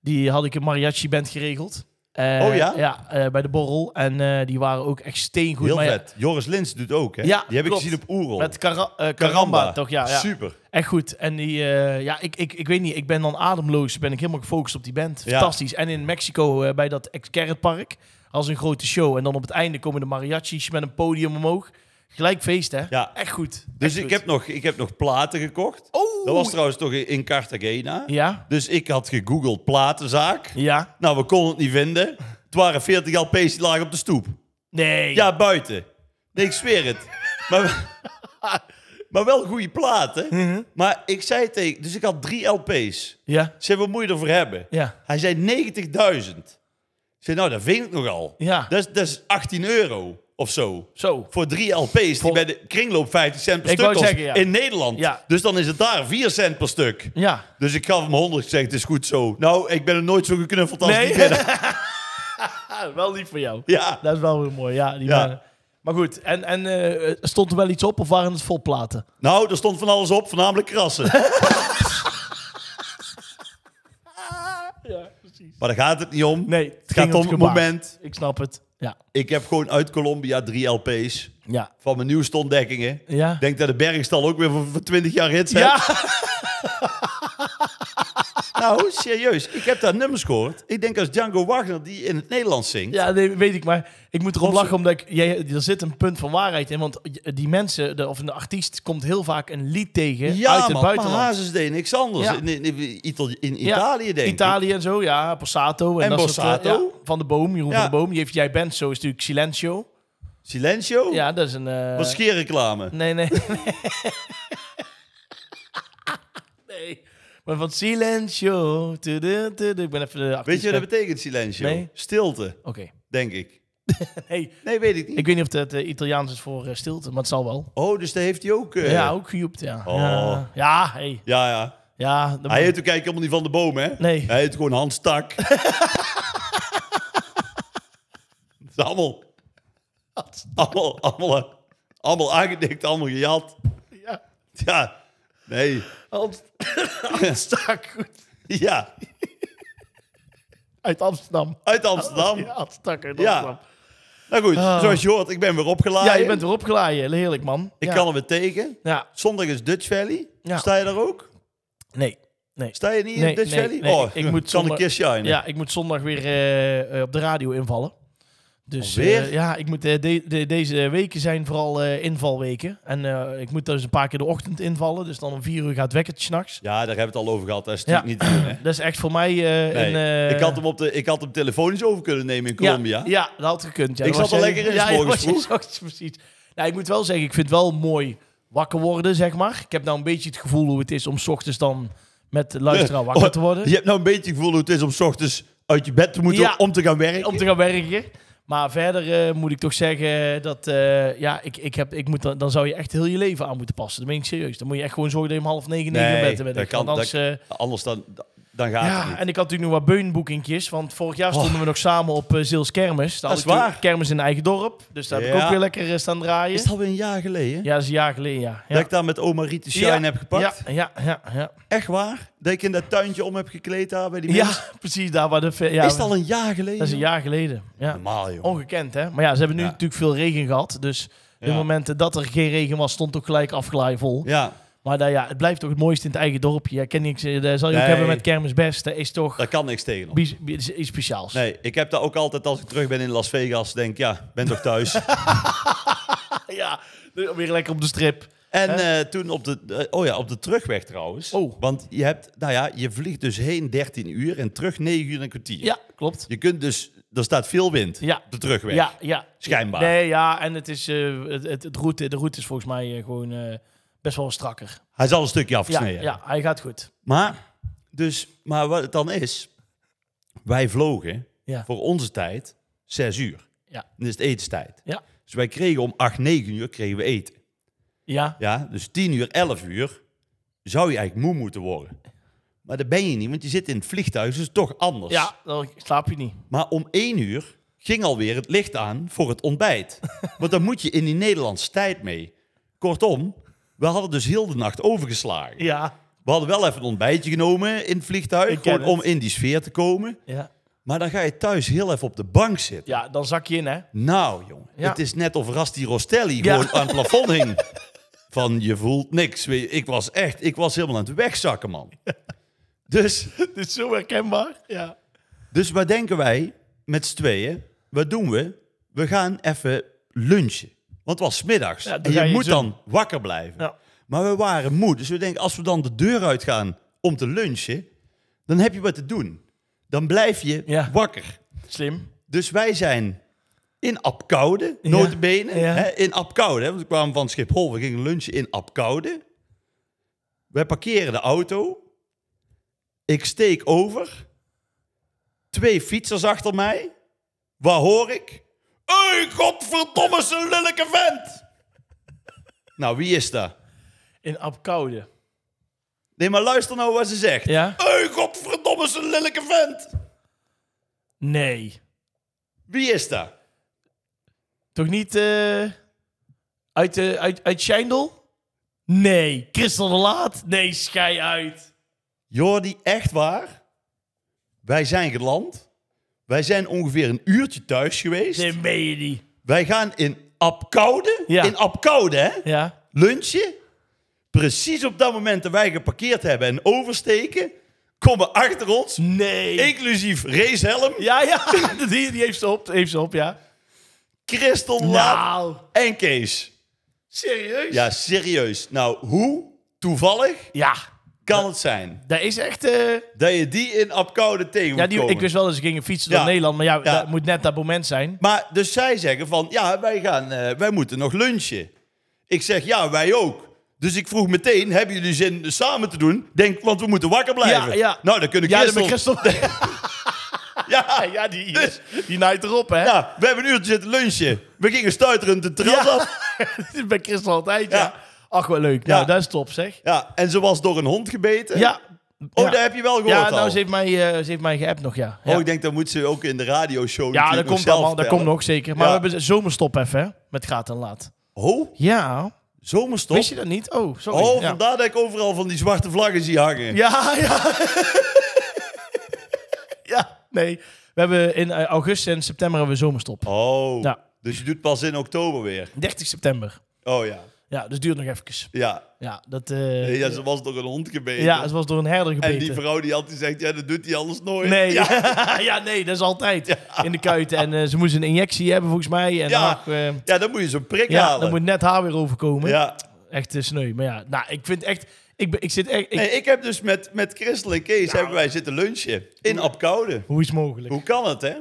die had ik een mariachi band geregeld. Eh,
Oh ja?
Ja, eh, bij de borrel. En eh, die waren ook echt steengoed.
Heel
Maar ja,
vet. Joris Lins doet ook, hè?
Ja,
die heb
klopt.
ik gezien op Oerol.
Met kara- eh, karamba, toch? Ja, ja.
Super.
Echt goed. En die, eh, ja, ik, ik, ik weet niet, ik ben dan ademloos, ben ik helemaal gefocust op die band.
Ja.
Fantastisch. En in Mexico eh, bij dat Excarretpark, als een grote show. En dan op het einde komen de mariachis met een podium omhoog. Gelijk feest, hè?
Ja.
Echt goed.
Dus
Echt
ik
goed.
heb, nog, ik heb nog platen gekocht.
Oh,
Dat was trouwens toch in Cartagena.
Ja?
Dus ik had gegoogeld platenzaak.
Ja?
Nou, we konden het niet vinden. Het waren 40 LP's die lagen op de stoep.
Nee.
Ja, buiten. Nee, ik zweer het. Maar, maar wel goede platen.
Mhm.
Maar ik zei tegen... Dus ik had drie LP's.
Ja?
Ik zei, wat moet je ervoor hebben?
Ja.
Hij zei 90.000. Ik zei, nou, dat vind ik nogal.
Ja.
Dat, is, dat is 18 euro of zo.
Zo.
Voor drie LP's
Vol-
die bij de kringloop 50 cent per
Ik
stuk
wou
kost.
zeggen, ja.
In Nederland.
Ja.
Dus dan is het daar 4 cent per stuk.
Ja.
Dus ik gaf hem 100. Ik zeg, het is goed zo. Nou, ik ben er nooit zo geknuffeld als
Nee.
die binnen.
Ah, wel lief voor jou.
Ja.
Dat is wel weer mooi. Ja, die
Ja.
mannen. Maar goed, en, en eh, stond er wel iets op of waren het vol platen?
Nou, er stond van alles op, voornamelijk krassen.
Ja, precies.
Maar daar gaat het niet om.
Nee,
het gaat om het
gebaar.
moment.
Ik snap het. Ja.
Ik heb gewoon uit Colombia drie LP's
Ja.
van mijn nieuwste ontdekkingen. Ik
Ja.
denk dat de Bergstal ook weer voor, voor 20 jaar hits heeft.
ja.
Nou, serieus. Ik heb daar nummers gehoord. Ik denk als Django Wagner die in het Nederlands zingt.
Ja, nee, weet ik, maar ik moet erop
Of ze-
lachen omdat ik, jij, er zit een punt van waarheid in. Want die mensen, de, of een artiest, komt heel vaak een lied tegen
Ja,
uit het
man,
buitenland.
maar Hazes deed niks anders.
Ja.
In, in- Itali- in
Ja,
Italië denk ik.
Italië en zo, ja. Passato. En,
En
dat soort,
Bossato.
eh, ja, van de Boom, Jeroen
Ja.
van de Boom. Die heeft Jij Bent Zo, is natuurlijk Silencio.
Silencio?
Ja, dat is een... eh,
Was scheerreclame.
Nee, nee. nee. Maar van Silencio. tudu, tudu. Ik ben even de
Weet
artiest
je wat
kwijt.
dat betekent, Silencio?
Nee.
Stilte,
Oké.
denk ik.
Hey,
Nee, weet ik niet.
ik weet niet of het eh, Italiaans is voor eh, stilte, maar het zal wel.
Oh, dus daar heeft hij ook... eh,
Ja, ook gejoept, ja.
Oh.
Ja, ja, hey.
Ja, ja.
Ja, dat
Hij
moet-
heet ook eigenlijk helemaal niet Van de Boom, hè?
Nee.
Hij heet gewoon Hans Tak. Dat is allemaal, allemaal, allemaal, allemaal aangedikt, allemaal gejat.
ja,
Ja, nee,
Hans, Hans Staak, goed.
ja,
Uit Amsterdam.
uit Amsterdam.
Ja, Hans Staak uit
Ja.
Amsterdam.
Nou goed,
Ah.
zoals je hoort, ik ben weer opgeladen.
Ja, je bent erop gelaaien. Heerlijk, man.
Ik
ja.
kan er weer tegen.
Ja,
Zondag is Dutch Valley.
Ja.
Sta je daar ook?
nee. Nee.
Sta je niet
Nee,
in Dutch
nee,
Valley?
nee.
Oh,
Ik
ik
moet
moet kan
zondag-
een keer shinen.
Ja, ik moet zondag weer eh, eh, op de radio invallen. Dus eh,
Alweer?
ja, ik moet, eh, de- de- deze weken zijn vooral eh, invalweken. En eh, ik moet dus een paar keer de ochtend invallen. Dus dan om vier uur gaat wekkertje s'nachts.
Ja, daar hebben we het al over gehad. Dat is
Ja.
natuurlijk niet te doen, hè?
Dat is echt voor mij eh,
Nee.
een... eh,
ik, had hem op de, ik had hem telefonisch over kunnen nemen in
ja,
Colombia.
Ja, dat had gekund. Ja,
Ik
Dat
zat
was
al
jij-
lekker in,
Ja,
s morgens
dat was je ochtends, precies. Nou, ik moet wel zeggen, ik vind het wel mooi wakker worden, zeg maar. Ik heb nou een beetje het gevoel hoe het is om 's ochtends dan met de luisteraar wakker te worden.
Je hebt nou een beetje het gevoel hoe het is om 's ochtends uit je bed te moeten
Ja.
om te gaan werken.
om te gaan werken. Maar verder eh, moet ik toch zeggen dat eh, ja, ik, ik heb, ik moet, dan, dan zou je echt heel je leven aan moeten passen. Dat meen ik serieus. Dan moet je echt gewoon zorgen dat je om half negen, negen
Nee,
in bed bent.
dat
Want
kan-
anders,
dat-
eh,
Anders dan, dan gaat het
ja,
niet. Oh.
en ik had natuurlijk nog wat beunboekingjes. Want vorig jaar stonden we nog samen op eh Zils Kermis. Daar
Dat
had
is
ik toen
waar.
Kermis in eigen dorp. Dus daar heb ik
Ja.
ook weer lekker eh, staan draaien.
Is het alweer een jaar geleden?
Ja, dat is een jaar geleden, ja. ja.
Dat ik daar met oma Riet de shine
Ja,
heb gepakt?
Ja, ja, ja. ja.
Echt waar? Dat ik in dat tuintje om heb gekleed daar bij die
Ja,
mensen?
precies daar waar de... fe- Ja,
Is het al een jaar geleden?
Dat is een jaar geleden, ja.
Normaal, joh.
Ongekend, hè? Maar ja, ze hebben nu
Ja.
natuurlijk veel regen gehad. Dus de
Ja.
momenten dat er geen regen was, stond ook gelijk afgelaai vol.
Ja,
Maar nou ja, het blijft toch het mooiste in het eigen dorpje. Ja, ken ik, ze- dat zal je ook
Nee.
hebben met Kermis Best. Dat is toch
daar kan niks tegen op.
bi- bi- is iets speciaals.
Nee, ik heb daar ook altijd als ik terug ben in Las Vegas, denk ja, ik ben toch thuis.
Ja, nu weer lekker op de strip.
en
Hè?
eh, toen op de, eh, oh ja, op de terugweg trouwens.
Oh.
Want je hebt, nou ja, je vliegt dus heen 13 uur en terug 9 uur en een kwartier.
Ja, klopt.
Je kunt dus, er staat veel wind
Ja.
op de terugweg.
Ja, ja.
Schijnbaar.
Nee, ja, en het is, eh, het, het, het route, de route is volgens mij eh, gewoon eh, best wel strakker.
Hij is al een stukje
Ja,
afgesneden.
ja, hij gaat goed.
Maar, dus, maar wat het dan is, wij vlogen
Ja.
voor onze tijd 6 uur.
Ja.
Dan is het etenstijd.
Ja.
Dus wij kregen om 8, 9 uur kregen we eten.
Ja,
Ja, dus 10 uur, 11 uur zou je eigenlijk moe moeten worden. Maar dat ben je niet, want je zit in het vliegtuig, dus het is toch anders.
ja dan slaap je niet.
Maar om 1 uur ging alweer het licht aan voor het ontbijt. Want dan moet je in die Nederlandse tijd mee. Kortom, we hadden dus heel de nacht overgeslagen.
Ja.
We hadden wel even een ontbijtje genomen in het
Ik
vliegtuig,
ken
gewoon om
het.
in die sfeer te komen.
Ja.
Maar dan ga je thuis heel even op de bank zitten.
ja, dan zak je in, hè?
Nou, jongen.
Ja.
Het is net of Rasti
Ja.
Rostelli gewoon aan het plafond hing. Van, je voelt niks. Weet je, Ik was echt, ik was helemaal aan het wegzakken, man. Dus,
Dit is zo herkenbaar. Ja.
dus wat denken wij met z'n tweeën? Wat doen we? We gaan even lunchen. Want het was 's middags.
Ja, dan
en
ga
je
je
moet
zo-
dan wakker blijven.
Ja.
Maar we waren moe. Dus we denken, als we dan de deur uitgaan om te lunchen, dan heb je wat te doen. Dan blijf je
Ja.
wakker.
Slim.
Dus wij zijn in Apkoude,
Ja.
notabene.
Ja.
Hè, in Apkoude, hè, want we kwamen van Schiphol. We gingen lunchen in Apkoude. Wij parkeren de auto. Ik steek over. Twee fietsers achter mij. Waar hoor ik? Hé, godverdomme, ze lelijke vent! nou, wie is dat?
In Apkoude.
Nee, maar luister nou wat ze zegt. Hé,
Ja?
godverdomme, ze lelijke vent!
Nee.
Wie is dat?
Toch niet eh, uit, eh uit, uit Schijndel? Nee. Christel de Laat? Nee, schei uit.
Jordi, echt waar. Wij zijn geland. Wij zijn ongeveer een uurtje thuis geweest.
Nee, meen je niet.
Wij gaan in Apkoude.
Ja.
In Apkoude, hè?
Ja?
Lunchen. Precies op dat moment dat wij geparkeerd hebben en oversteken, komen achter ons,
Nee.
inclusief racehelm,
Ja, ja. Die, die heeft ze op. Heeft ze op, ja.
Christel Laat
Nou.
en Kees.
Serieus?
Ja, serieus. Nou, hoe toevallig
Ja.
kan het zijn
Dat is echt... eh,
dat je die in Apkoude tegen
ja,
moet
die,
komen?
ik wist wel dat ze gingen fietsen door
Ja.
Nederland. Maar ja,
Ja.
dat moet net dat moment zijn.
Maar dus zij zeggen van, ja, wij, gaan, eh, wij moeten nog lunchen. Ik zeg, ja, wij ook. Dus ik vroeg meteen, hebben jullie zin samen te doen? Denk, want we moeten wakker blijven.
Ja, ja.
Nou, dan kunnen
Ja, dat
Christel...
ben Christel.
Ja,
ja, die, eh, die naait erop, hè?
ja, we hebben een uurtje zitten lunchen. We gingen stuiterend de terras af.
Dat is bij Christel altijd, ja.
Ja.
Ach, wat leuk.
Ja.
Nou, dat is top, zeg.
Ja, en ze was door een hond gebeten.
Ja.
Oh,
ja.
dat heb je wel gehoord
Ja, nou,
al.
ze heeft mij, eh, ze heeft mij geappt nog, ja. Ja,
Oh, ik denk, dat moet ze ook in de radioshow
ja dat
natuurlijk nog
komt
zelf
allemaal. Dat komt
vertellen.
nog, zeker. Maar
Ja.
we hebben zomerstop even, hè. Met gaat en laat.
Oh,
Ja.
zomerstop?
Wist je dat niet? Oh, sorry.
Oh,
ja.
vandaar dat ik overal van die zwarte vlaggen zie hangen.
Ja, ja. ja, nee. We hebben in eh, augustus en september hebben we zomerstop.
Oh,
Ja.
dus je doet pas in oktober weer.
30 september.
Oh ja,
Ja, dus duurt nog even.
ja.
Ja, dat... eh,
Ja, ze was door een hond gebeten.
ja, het was door een herder gebeten.
en die vrouw die altijd zegt, ja, dat doet hij anders nooit.
Nee,
Ja,
ja. nee, dat is altijd in de kuiten. En eh, ze moest een injectie hebben volgens mij. En
Ja.
ach, eh,
ja dan moet je zo'n prik
ja,
halen.
dan moet net haar weer overkomen.
ja.
Echt eh, sneu. Maar ja, nou, ik vind echt... Ik, ben, ik zit echt... ik-
Nee, ik heb dus met, met Christel en Kees hebben wij zitten lunchen in Apkoude.
Hoe is het mogelijk?
Hoe kan het, hè?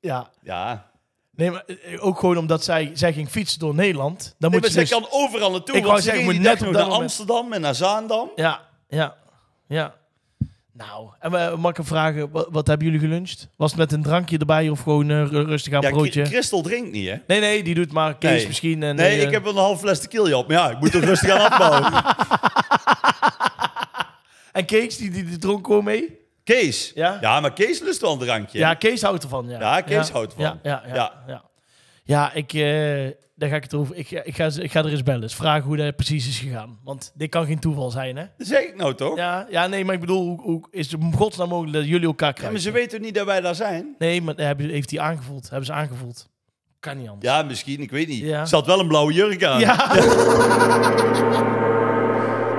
Ja.
Ja.
Nee, maar eh, ook gewoon omdat zij, zij ging fietsen door Nederland. Dan
Nee,
moet
maar
je
zij
dus-
kan overal naartoe.
Ik
Ik
wou
want ze
zeggen,
ging
moet
die dag
net op
nog
dat
naar
moment-
Amsterdam en naar Zaandam.
Ja, ja, ja. Nou, en we mag ik hem vragen, wat, wat hebben jullie geluncht? Was het met een drankje erbij of gewoon eh, ru- rustig aan
Ja,
broodje?
Chri- Christel drinkt niet, hè?
Nee, nee, die doet maar Kees
Nee.
misschien. En,
Nee,
eh,
ik heb wel een half fles tequila op. Maar ja, ik moet het rustig aan afbouwen.
En Kees, die, die, die dronk gewoon mee?
Kees.
Ja?
maar Kees lust wel een drankje.
Ja, Kees houdt ervan. Ja,
Ja, Kees houdt ervan.
Ja, ja, ja. ja.
Ja.
ja. ik, eh, daar ga ik het over. Ik, ga- ik, ga, ze- ik ga er eens bellen. Eens vragen hoe dat precies is gegaan. Want dit kan geen toeval zijn, hè?
Dat zeg ik nou toch? Ja,
Ja, ja nee, maar ik bedoel, hoe, hoe is het in godsnaam mogelijk dat jullie elkaar krijgen?
maar ze weten toch niet dat wij daar zijn?
Nee, maar hebben, heeft hij aangevoeld? Hebben ze aangevoeld? Kan niet anders.
Ja, misschien. Ik weet niet.
Ja.
Ze had wel een blauwe jurk aan.
Ja.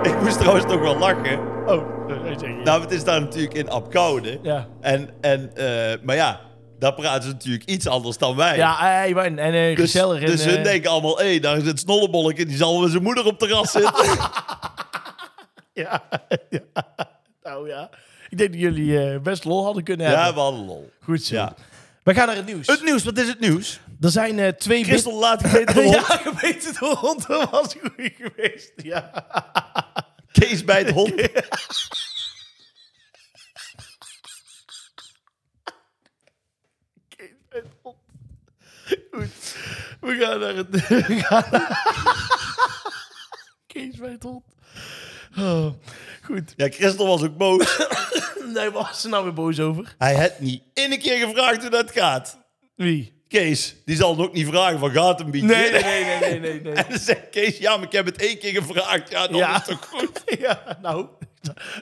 Ik moest trouwens nog wel lachen.
Oh, dat zeg je.
Nou, het is daar natuurlijk in Apkoude.
Ja.
En, en, eh, maar ja, daar praten ze natuurlijk iets anders dan wij.
Ja, hey, man, en eh
dus,
gezellig. en,
dus hun
eh,
denken allemaal, hé, hey, daar zit Snollebolleke, die zal met zijn moeder op terras zitten.
Ja, ja. Nou ja. Ik denk dat jullie eh, best lol hadden kunnen
ja,
hebben.
we hadden lol.
Goed zo.
Ja.
We gaan naar het nieuws.
Het nieuws, wat is het nieuws?
Er zijn eh, twee... wit-
Christel laat gegeten de hond,
Ja, gebeten door hond, dat was goed geweest. Ja.
Kees bij het hond.
Goed. We gaan naar het... We gaan Kees bij het hond. Oh, goed.
Ja, Christel was ook boos.
Nee, waar was ze nou weer boos over?
Hij had niet in een keer gevraagd hoe dat gaat.
Wie?
Kees, die zal het ook niet vragen van, gaat een beetje?
nee, nee, nee, nee. nee.
En dan zegt Kees, ja, maar ik heb het één keer gevraagd. Ja, dan
Ja.
is het toch goed.
Ja, nou,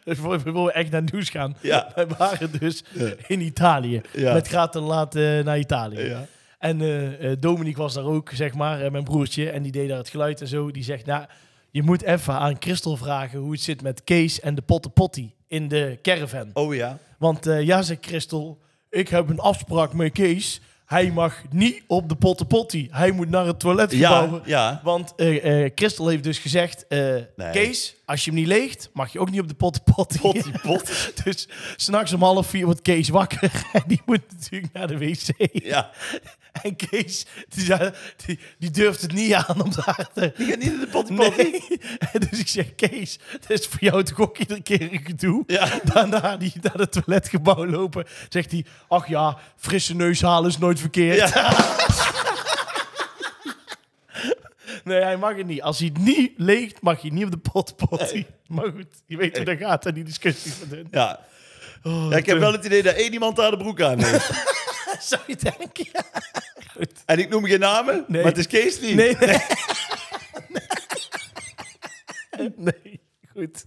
dus voor- voor we echt naar het nieuws gaan.
Ja.
Wij waren dus in Italië.
Ja.
Met gaat en laat eh, naar Italië.
Ja.
En eh, eh, Dominique was daar ook, zeg maar, eh, mijn broertje. En die deed daar het geluid en zo. Die zegt, nou, je moet even aan Christel vragen hoe het zit met Kees en de pottenpotti in de caravan.
Oh ja.
Want eh, ja, zei Christel, ik heb een afspraak met Kees. Hij mag niet op de pottenpottie. Hij moet naar het toiletgebouw.
Ja, ja.
Want eh eh Christel heeft dus gezegd... eh, Kees, als je hem niet leegt, mag je ook niet op de pottenpottie.
Pottie, pot.
Dus s'nachts om half vier wordt Kees wakker. En die moet natuurlijk naar de wc.
Ja.
En Kees, die, zei- die, die durft het niet aan om daar te...
Die gaat niet in de pottie, pottie.
Nee. Dus ik zeg, Kees, dat is voor jou toch ook iedere keer een gedoe?
Ja.
Daarna die, naar het toiletgebouw lopen, zegt hij... Ach ja, frisse neus halen is nooit verkeerd. Nee, hij mag het niet. Als hij het niet leegt, mag hij niet op de pot potty. Maar goed, je weet hoe dat gaat en die discussie van hun.
Ja.
Oh,
Ja, ik heb wel het idee dat één iemand daar de broek aan heeft.
Zou je denken? Ja.
En ik noem geen namen,
Nee.
maar het is Kees niet.
Nee, nee. nee, goed.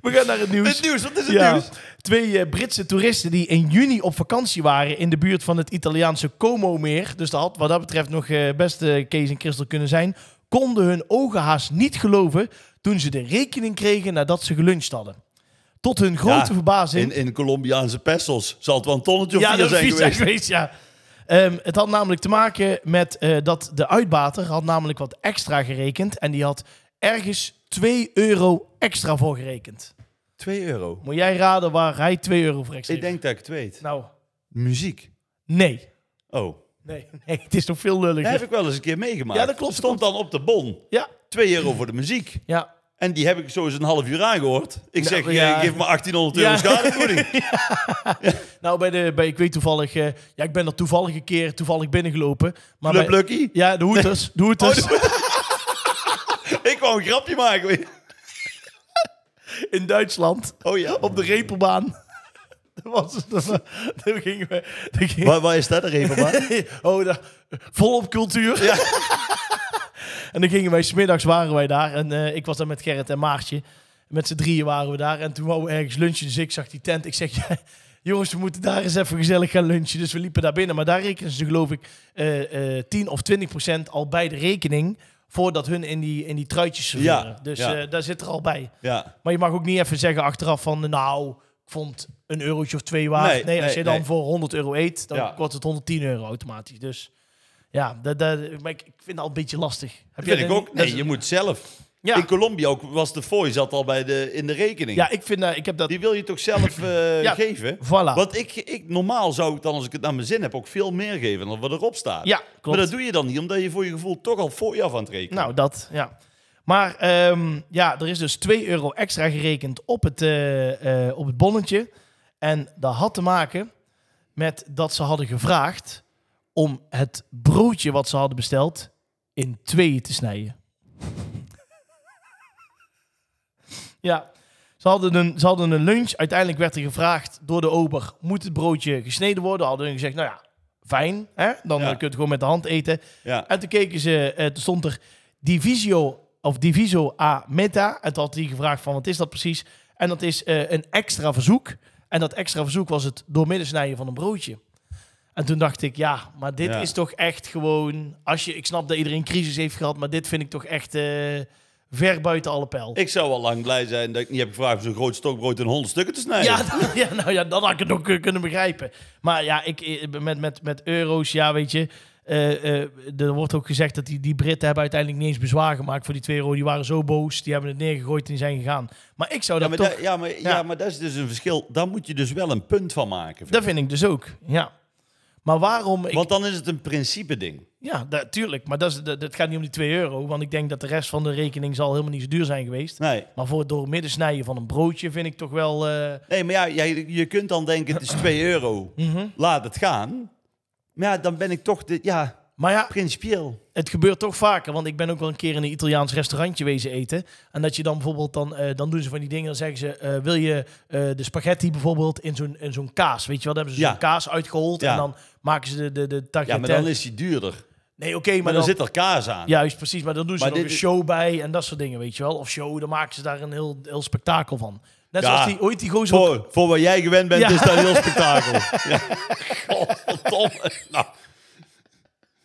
We gaan naar het nieuws.
Het nieuws, wat is het
dus- Ja,
nieuws?
twee eh, Britse toeristen die in juni op vakantie waren in de buurt van het Italiaanse Como-meer, dus dat had wat dat betreft nog eh, best eh, Kees en Christel kunnen zijn, konden hun ogen haast niet geloven toen ze de rekening kregen nadat ze geluncht hadden. Tot hun grote
Ja,
verbazing
In, in Colombiaanse pesos zal het wel een tonnetje of
ja,
vier
dat
zijn
vies zijn
geweest.
geweest. Ja. Ehm, het had namelijk te maken met eh, dat de uitbater had namelijk wat extra gerekend. En die had ergens 2 euro extra voor gerekend.
2 euro.
Moet jij raden waar hij 2 euro voor extra
Ik
heeft?
denk dat ik het weet.
Nou,
Muziek.
nee.
Oh.
Nee, nee, het is nog veel lulliger.
Dat heb ik wel eens een keer meegemaakt.
Ja, dat klopt, dat
Stond dan op de bon.
Ja,
2 euro voor de muziek.
ja.
En die heb ik zo eens een half uur aangehoord. Ik zeg,
Nou ja.
eh, geef me 1800
Ja.
euro schadevergoeding.
Nou, bij de, bij, ik weet toevallig... eh, ja, ik ben er toevallig een keer toevallig binnengelopen. Maar
Pluk,
bij,
plukkie.
ja, de hoeters. Oh, De hoeters.
Ik wou een grapje maken.
in Duitsland.
Oh ja.
Op de repelbaan. Dat was het. Daar gingen we... daar gingen-
Waar, waar is dat er even van?
oh, daar- volop cultuur.
Ja.
en dan gingen wij, smiddags waren wij daar. En eh, ik was daar met Gerrit en Maartje. Met z'n drieën waren we daar. En toen wou we ergens lunchen. Dus ik zag die tent. Ik zeg, ja, jongens, we moeten daar eens even gezellig gaan lunchen. Dus we liepen daar binnen. Maar daar rekenen ze, geloof ik, eh, eh, 10 of 20 procent al bij de rekening. Voordat hun in die, in die truitjes serveren.
Ja,
dus
ja.
eh, daar zit er al bij.
Ja.
Maar je mag ook niet even zeggen achteraf van... Nou, ik vond een eurotje of twee waard. Nee,
Nee,
als
nee,
je dan
nee.
voor 100 euro eet, dan
Ja.
wordt het 110 euro automatisch. Dus ja, dat, dat, maar ik, ik vind het al een beetje lastig. Heb
Dat
jij
vind ik
dat
ook.
niet? Dat
Nee,
is-
je moet zelf.
Ja.
In Colombia ook was de fooi zat al bij de, in de rekening.
ja, ik vind dat... ik heb dat
Die wil je toch zelf eh,
Ja.
geven?
voilà.
Want ik, ik, normaal zou ik dan, als ik het naar mijn zin heb, ook veel meer geven dan wat erop staat.
Ja,
Maar
klopt.
dat doe je dan niet, omdat je voor je gevoel toch al voor je af aan het rekenen.
Nou, dat, ja. Maar ehm, ja, er is dus 2 euro extra gerekend op het, eh, eh, op het bonnetje. En dat had te maken met dat ze hadden gevraagd om het broodje wat ze hadden besteld in tweeën te snijden. ja, ze hadden, een, ze hadden een lunch. Uiteindelijk werd er gevraagd door de ober, moet het broodje gesneden worden? Hadden hun gezegd, nou ja, fijn, hè? dan
Ja.
eh, kun je het gewoon met de hand eten.
ja.
En toen keken ze, eh, toen stond er Divisio of Diviso a Meta. En toen had hij gevraagd van wat is dat precies? En dat is eh, een extra verzoek. En dat extra verzoek was het doormidden snijden van een broodje. En toen dacht ik, ja, maar dit
Ja.
is toch echt gewoon... Als je, ik snap dat iedereen crisis heeft gehad, maar dit vind ik toch echt eh, ver buiten alle pijl.
Ik zou al lang blij zijn dat ik niet heb gevraagd om zo'n groot stokbrood in honderd stukken te snijden.
Ja, dan- ja, nou ja, dan had ik het ook eh, kunnen begrijpen. Maar ja, ik, eh, met, met, met euro's, ja, weet je. eh, eh, er wordt ook gezegd dat die, die Britten hebben uiteindelijk niet eens bezwaar gemaakt voor die 2 euro. Die waren zo boos, die hebben het neergegooid en zijn gegaan. Maar ik zou
Ja,
dat
maar,
toch...
daar- ja, maar, ja.
Ja.
maar dat is dus een verschil. Daar moet je dus wel een punt van maken.
Dat vind ik dus ook, ja. Maar waarom... Ik,
Want dan is het een principe ding.
Ja, dat, tuurlijk. Maar dat, is, dat, dat gaat niet om die 2 euro. Want ik denk dat de rest van de rekening zal helemaal niet zo duur zijn geweest.
Nee.
Maar voor het doormidden snijden van een broodje vind ik toch wel... eh,
Nee, maar ja, jij- je kunt dan denken, het is 2 euro.
Mhm.
Laat het gaan. Maar ja, dan ben ik toch, de, ja,
Maar ja,
principieel.
het gebeurt toch vaker, want ik ben ook wel een keer in een Italiaans restaurantje wezen eten. En dat je dan bijvoorbeeld, dan, eh, dan doen ze van die dingen, dan zeggen ze, eh, wil je eh, de spaghetti bijvoorbeeld in zo'n, in zo'n kaas? Weet je wel, dan hebben ze
Ja.
zo'n kaas uitgehold
Ja.
en dan maken ze de, de, de
Ja, maar
tagliatelle.
dan is die duurder. Maar,
Nee, oké, maar,
dan,
dan,
zit er kaas aan.
Juist, precies, maar dan doen ze
Maar
nog
dit
een
is-
show bij en dat soort dingen, weet je wel. Of show, dan maken ze daar een heel, heel spektakel van. Net
Ja.
zoals die, ooit die gozer... op-
Voor, voor wat jij gewend bent,
Ja.
is dat een heel spektakel. ja. Godverdomme. Nou.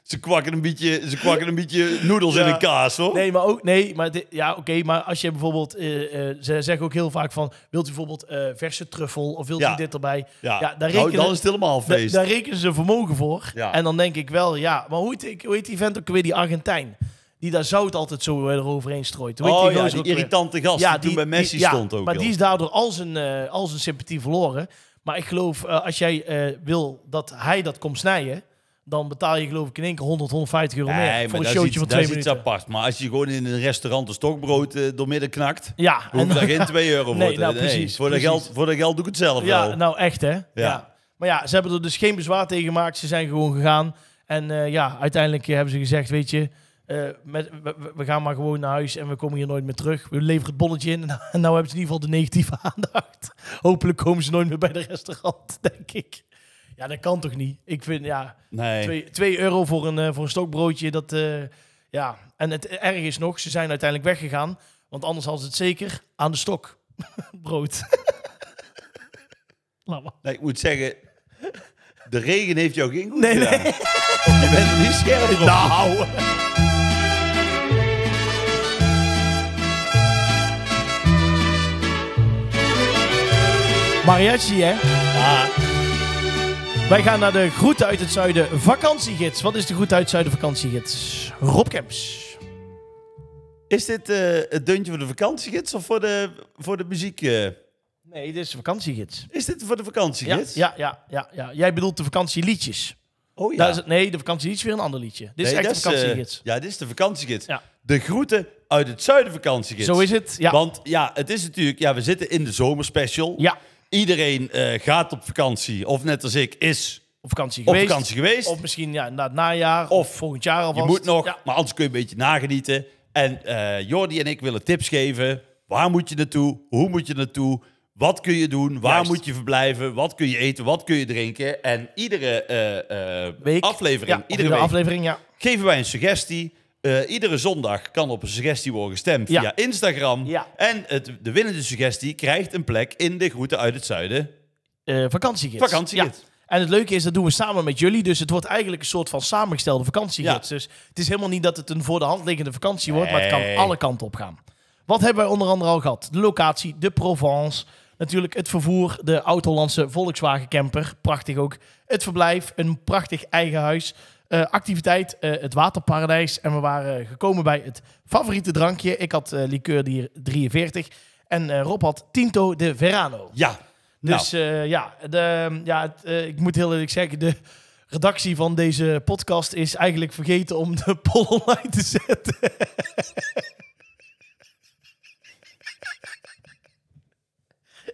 Ze kwakken een beetje, ze kwakken een beetje noedels in
Ja.
een kaas, hoor.
Nee, maar ook nee, maar dit- ja, oké, maar als je bijvoorbeeld, eh, eh, ze zeggen ook heel vaak van, wilt u bijvoorbeeld eh, verse truffel of wilt
Ja.
u dit erbij?
ja,
daar
Nou,
rekenen-
dan is het helemaal
Da-
feest.
daar rekenen ze vermogen voor.
Ja.
En dan denk ik wel, ja, maar hoe heet, die- hoe heet die vent ook weer die Argentijn? Die daar zout altijd zo eh, eroverheen strooit. Hoe heet
oh ja,
gozer
die
ook weer?
irritante gast die, toen bij Messi
die- ja,
stond ook
Maar
al.
die is daardoor al zijn, eh, al zijn sympathie verloren. Maar ik geloof, eh, als jij eh, wil dat hij dat komt snijden, dan betaal je geloof ik in één keer 100, 150 euro
Nee,
meer
maar
voor een
dat is
showtje
iets-
van
dat
twee
is iets
minuten.
apart. Maar als je gewoon in een restaurant een stokbrood eh, doormidden knakt,
Ja,
hoef
en-
ik daar geen 2 euro voor
Nee,
te
nou,
nee,
precies,
voor, dat
precies.
geld, voor dat geld doe ik het zelf wel.
ja, nou echt hè. Ja. Maar ja, ze hebben er dus geen bezwaar tegen gemaakt. Ze zijn gewoon gegaan. En eh, ja, uiteindelijk eh, hebben ze gezegd, weet je, eh, met, we- we, we gaan maar gewoon naar huis en we komen hier nooit meer terug. We leveren het bonnetje in en nou hebben ze in ieder geval de negatieve aandacht. Hopelijk komen ze nooit meer bij de restaurant, denk ik. Ja, dat kan toch niet? Ik vind, ja,
nee.
2 euro voor een, eh, voor een stokbroodje, dat, eh, ja. En het erg is nog, ze zijn uiteindelijk weggegaan, want anders hadden ze het zeker aan de stok. Brood. Laat maar.
Nee, ik moet zeggen, de regen heeft jou geen goed
Nee, nee.
gedaan. Je bent er niet scherp op.
Nou. Mariachi, hè?
Ah,
Wij gaan naar de Groeten uit het Zuiden vakantiegids. Wat is de Groeten uit het Zuiden vakantiegids? Rob Kemps.
is dit eh, het deuntje voor de vakantiegids of voor de, voor de muziek? eh?
Nee, dit is de vakantiegids.
is dit voor de
Ja,
vakantiegids?
ja, ja, ja, ja. Jij bedoelt de vakantieliedjes.
Oh ja.
Daar is het, nee, de vakantieliedjes is weer een ander liedje. Dit is
Nee,
echt
dat
de
eh,
vakantiegids.
ja, dit is de vakantiegids.
Ja.
De groeten uit het zuiden vakantiegids.
Zo is het. Ja.
Want ja, het is natuurlijk, ja, we zitten in de zomerspecial.
ja,
Iedereen eh, gaat op vakantie, of net als ik, is
op vakantie
op
geweest.
vakantie geweest.
Of misschien ja, na het najaar. Of,
Of
volgend jaar
je
alvast.
moet nog,
Ja.
maar anders kun je een beetje nagenieten. En eh, Jordi en ik willen tips geven. Waar moet je naartoe? Hoe moet je naartoe? Wat kun je doen? Waar
Juist.
moet je verblijven? Wat kun je eten? Wat kun je drinken? En iedere eh, eh,
Week. Ja,
aflevering,
of
iedere week,
aflevering, ja.
geven wij een suggestie. Eh, iedere zondag kan op een suggestie worden gestemd
Ja.
via Instagram.
Ja.
En het, de winnende suggestie krijgt een plek in de Groeten uit het Zuiden.
eh vakantiegids.
Vakantiegids.
Ja. En het leuke is, dat doen we samen met jullie. Dus het wordt eigenlijk een soort van samengestelde vakantiegids. Dus het is helemaal niet dat het een voor de hand liggende vakantie wordt. Maar het
Nee.
kan alle kanten op gaan. Wat hebben wij onder andere al gehad? De locatie, de Provence. Natuurlijk het vervoer, de Oud-Hollandse Volkswagen camper. Prachtig ook. Het verblijf, een prachtig eigen huis. Eh, activiteit, eh, het waterparadijs. En we waren gekomen bij het favoriete drankje. Ik had eh liqueur die 43. En eh Rob had Tinto de Verano.
Ja. Nou.
Dus eh, ja, de, ja het, eh, ik moet heel eerlijk zeggen, de redactie van deze podcast is eigenlijk vergeten om de poll online te zetten.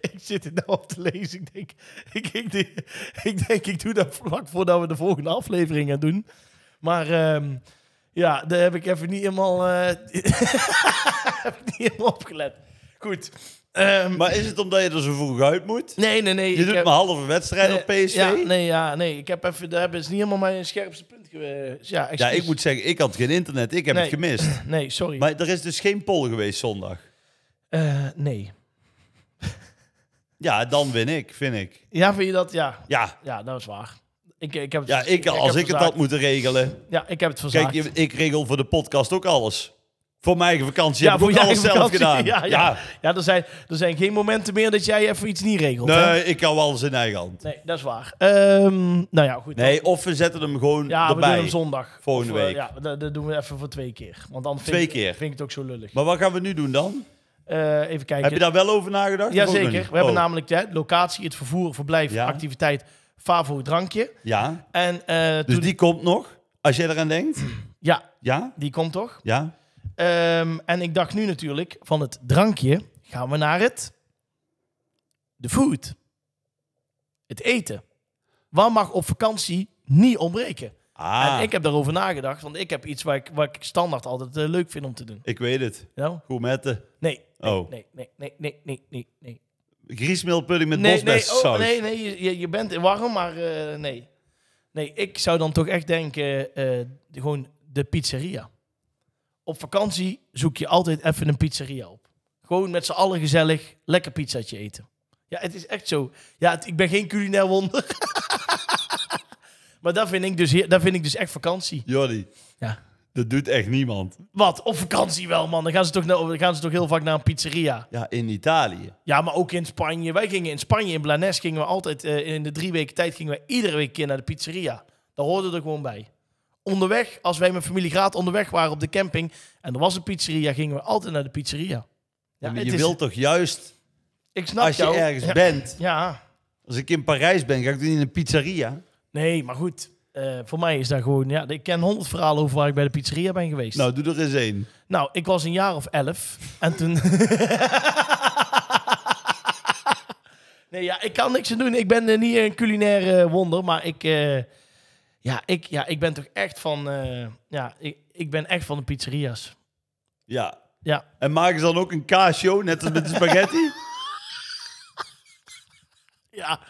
ik zit het nou op te lezen. Ik denk ik, ik, denk- ik denk, ik doe dat vlak voordat we de volgende aflevering gaan doen. Maar ehm, ja, daar heb ik even niet helemaal, eh, heb ik niet helemaal opgelet. Goed. Ehm,
Nou, Maar is het omdat je er zo vroeg uit moet?
nee, nee, nee.
Je
ik
doet
heb-
maar halve wedstrijd op
Nee, Eh,
PSV.
Ja,
Ja,
nee, ja, nee. Ik heb even, daar hebben ze niet helemaal mijn scherpste punt geweest. Ja, excuus.
ik moet zeggen, ik had geen internet. Ik heb
Nee.
het gemist.
Nee, sorry.
Maar er is dus geen poll geweest zondag.
Eh, nee.
Ja, dan win ik, vind ik.
Ja, vind je dat? Ja,
Ja,
ja dat is waar. Ik, ik heb het,
ja ik, als
heb
ik het
verzaakt.
had moeten regelen.
Ja, ik heb het verzaakt.
Kijk, je- ik regel voor de podcast ook alles. Voor mijn eigen vakantie heb ik ook
je
alles
eigen
zelf gedaan.
vakantie. Ja, ja. ja. er, zijn, er zijn geen momenten meer dat jij even iets niet regelt.
Ja.
hè?
Nee, ik hou alles in eigen hand.
nee, dat is waar. Ehm, nou ja, goed.
Nee, of we zetten hem gewoon
ja, we doen
erbij.
hem zondag.
Volgende
Of, eh,
week.
ja, dat, dat doen we even voor twee keer. Want dan vind,
Twee
ik-
keer.
vind ik het ook zo lullig.
maar wat gaan we nu doen dan?
Eh, even kijken.
Heb je daar wel over nagedacht? Of ook nog
Jazeker. We
niet?
hebben
Oh,
namelijk de locatie, het vervoer, verblijf,
Ja.
activiteit, favo, drankje.
Ja,
En eh,
dus
toen-
die komt nog. Als jij eraan denkt.
ja,
Ja,
die komt toch?
ja.
Ehm, en ik dacht nu natuurlijk, van het drankje gaan we naar het... De food. Het eten. Wat mag op vakantie niet ontbreken?
Ah,
En
ik...
ik heb daarover nagedacht, want ik heb iets waar ik, waar ik standaard altijd eh, leuk vind om te doen.
weet het.
Nou,
Gourmetten.
nee,
Oh,
nee, nee, nee, nee, nee, nee, nee.
griesmeelpudding met
Nee, nee,
bosbessensaus.
oh, nee, nee je- je, je bent warm, maar eh, nee. Nee, ik zou dan toch echt denken, eh, de- gewoon de pizzeria. Op vakantie zoek je altijd even een pizzeria op. Gewoon met z'n allen gezellig, lekker pizzaatje eten. Ja, het is echt zo. Ja, het- ik ben geen culinair wonder. Maar dat vind ik dus, heer- dat vind ik dus echt vakantie.
Jordi,
Ja.
dat doet echt niemand.
Wat? Op vakantie wel, man. Dan gaan ze toch, na- dan gaan ze toch heel vaak naar een pizzeria.
Ja, in Italië.
Ja, maar ook in Spanje. Wij gingen in Spanje, in Blanes, gingen we altijd... eh, in de drie weken tijd gingen we iedere week een keer naar de pizzeria. Daar hoorde er gewoon bij. Onderweg, als wij met familie Graat onderweg waren op de camping... en er was een pizzeria, gingen we altijd naar de pizzeria. Ja,
Ja, maar
het
je
is-
wilt toch juist,
Ik snap
als je
jou.
ergens
ja.
bent...
Ja.
Als ik in Parijs ben, ga ik toch niet in een pizzeria?
Nee, maar goed. eh, voor mij is dat gewoon... Ja, ik ken honderd verhalen over waar ik bij de pizzeria ben geweest.
Nou, doe er eens één.
Nou, ik was een jaar of elf. En toen. nee, ja, ik kan niks aan doen. Ik ben eh, niet een culinaire eh, wonder. Maar ik, eh, ja, ik, ja, ik ben toch echt van. eh, ja, ik, ik ben echt van de pizzeria's.
Ja.
Ja.
En maken ze dan ook een kaasjo, net als met de spaghetti?
Ja,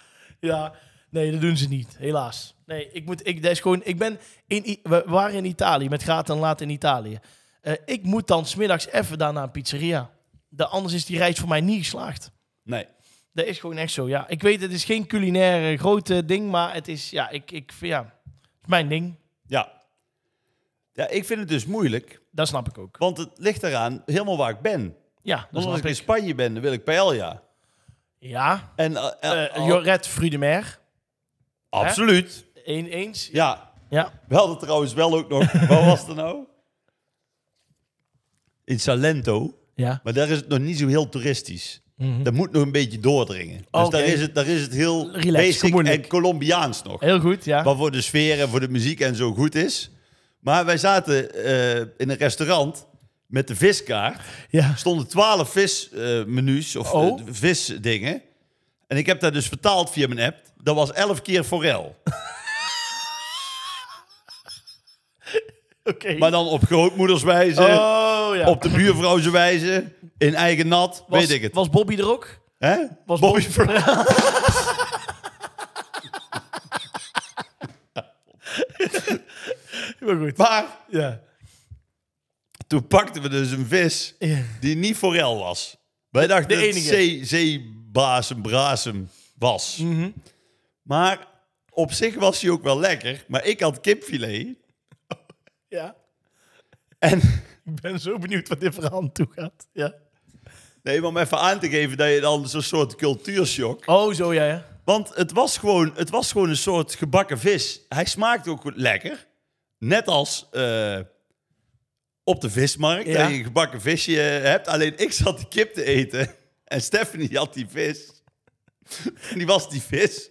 ja. Nee, dat doen ze niet, helaas. Nee, ik moet, ik, dat is gewoon, ik ben in, I- we waren in Italië, met Graat en Laat in Italië. Eh, ik moet dan smiddags even daar naar een pizzeria. De, anders is die reis voor mij niet geslaagd.
nee.
Dat is gewoon echt zo, ja. Ik weet, het is geen culinaire grote ding, maar het is, ja, ik, ik vind- ja, het is mijn ding.
Ja. Ja, ik vind het dus moeilijk,
Dat snap ik ook.
want het ligt eraan helemaal waar ik ben.
Ja, dat
Want als
snap
ik
ik.
in Spanje ben, dan wil ik paella.
Ja,
En, eh, eh, oh,
eh Joret Frudemer,
absoluut.
één eens.
Ja.
Ja,
We hadden trouwens wel ook nog... Waar was het nou? In Salento.
ja.
Maar daar is het nog niet zo heel toeristisch.
Mhm.
Dat moet nog een beetje doordringen. Dus
Oké.
daar, is het, daar is het heel
Relaxed,
basic
gemoedelijk.
en Colombiaans nog.
Heel goed, ja.
Wat voor de sfeer en voor de muziek en zo goed is. Maar wij zaten eh, in een restaurant met de viskaart.
Ja,
Er stonden twaalf vismenu's of eh,
Oh.
visdingen. En ik heb dat dus vertaald via mijn app. Dat was elf keer forel.
oké.
Maar dan op grootmoederswijze,
Oh, ja.
op de buurvrouwse wijze, in eigen nat,
was,
weet ik het.
Was Bobby er ook?
Hè?
Was
Bobby
Bobby-
Forel.
Maar goed.
Maar
Ja.
toen pakten we dus een vis
Ja.
die niet forel was. Wij dachten
de
dat het
enige.
zee, zeebasem, brasem was.
Mhm.
Maar op zich was hij ook wel lekker. Maar ik had kipfilet.
ja.
En
Ik ben zo benieuwd wat dit verhaal aan toe gaat. Ja.
nee, maar om even aan te geven dat je dan zo'n soort cultuurshock.
Oh, zo ja, ja.
Want het was, gewoon, het was gewoon een soort gebakken vis. Hij smaakte ook goed lekker. Net als eh, op de vismarkt,
Ja.
dat je een gebakken visje eh, hebt. Alleen ik zat die kip te eten en Stephanie had die vis. En die was die vis.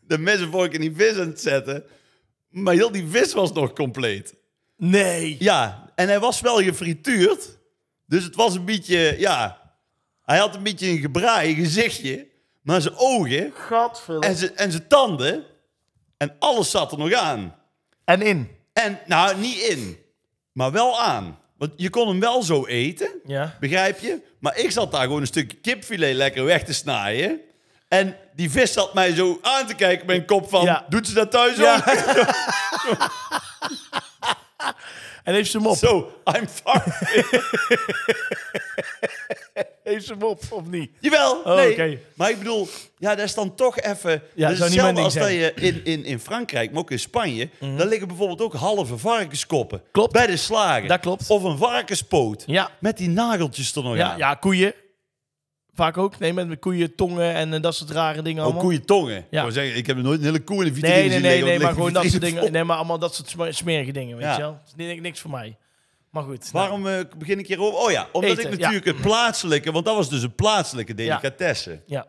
De mensen vork in die vis aan het zetten. Maar heel die vis was nog compleet.
Nee.
Ja, en hij was wel gefrituurd. Dus het was een beetje, ja... Hij had een beetje een gebraai gezichtje. Maar zijn ogen...
Gadverdamme.
En ze, en ze tanden. En alles zat er nog aan.
En in.
En, nou, niet in. Maar wel aan. Want je kon hem wel zo eten.
Ja.
Begrijp je? Maar ik zat daar gewoon een stukje kipfilet lekker weg te snijden. En die vis zat mij zo aan te kijken met een kop van...
Ja.
Doet ze dat thuis ook?
En heeft ze hem op?
Zo, I'm far.
Heeft ze hem op, of niet?
Jawel,
Oh,
nee.
oké.
Maar ik bedoel, ja, dat is dan toch even...
Ja,
dat is
zou niet mijn
hetzelfde
ding
als dat
zijn.
je in, in, in Frankrijk, maar ook in Spanje... daar liggen bijvoorbeeld ook halve varkenskoppen.
Mhm. Klopt.
Bij de slagen.
Dat klopt.
Of een varkenspoot.
Ja.
Met die nageltjes er nog
Ja,
aan.
ja, koeien. Vaak ook. Nee, met koeien, tongen en eh, dat soort rare dingen
Ook
allemaal.
koeientongen. Ik
Ja.
wou zeggen, ik heb nog nooit een hele koe Oh, in de vitrine
Nee, nee,
zien
nee,
liggen,
nee, maar
want
gewoon
er
dat
ligt
soort
een vitrine
dingen.
vol.
Nee, maar allemaal dat soort smer- smerige dingen, weet
Ja.
je wel. Het is ni- niks voor mij. Maar goed. nou.
Waarom eh, begin ik hierover? Oh ja, omdat
Eten,
ik
ja.
natuurlijk het plaatselijke... Want dat was dus een plaatselijke delicatesse.
nou. Ja.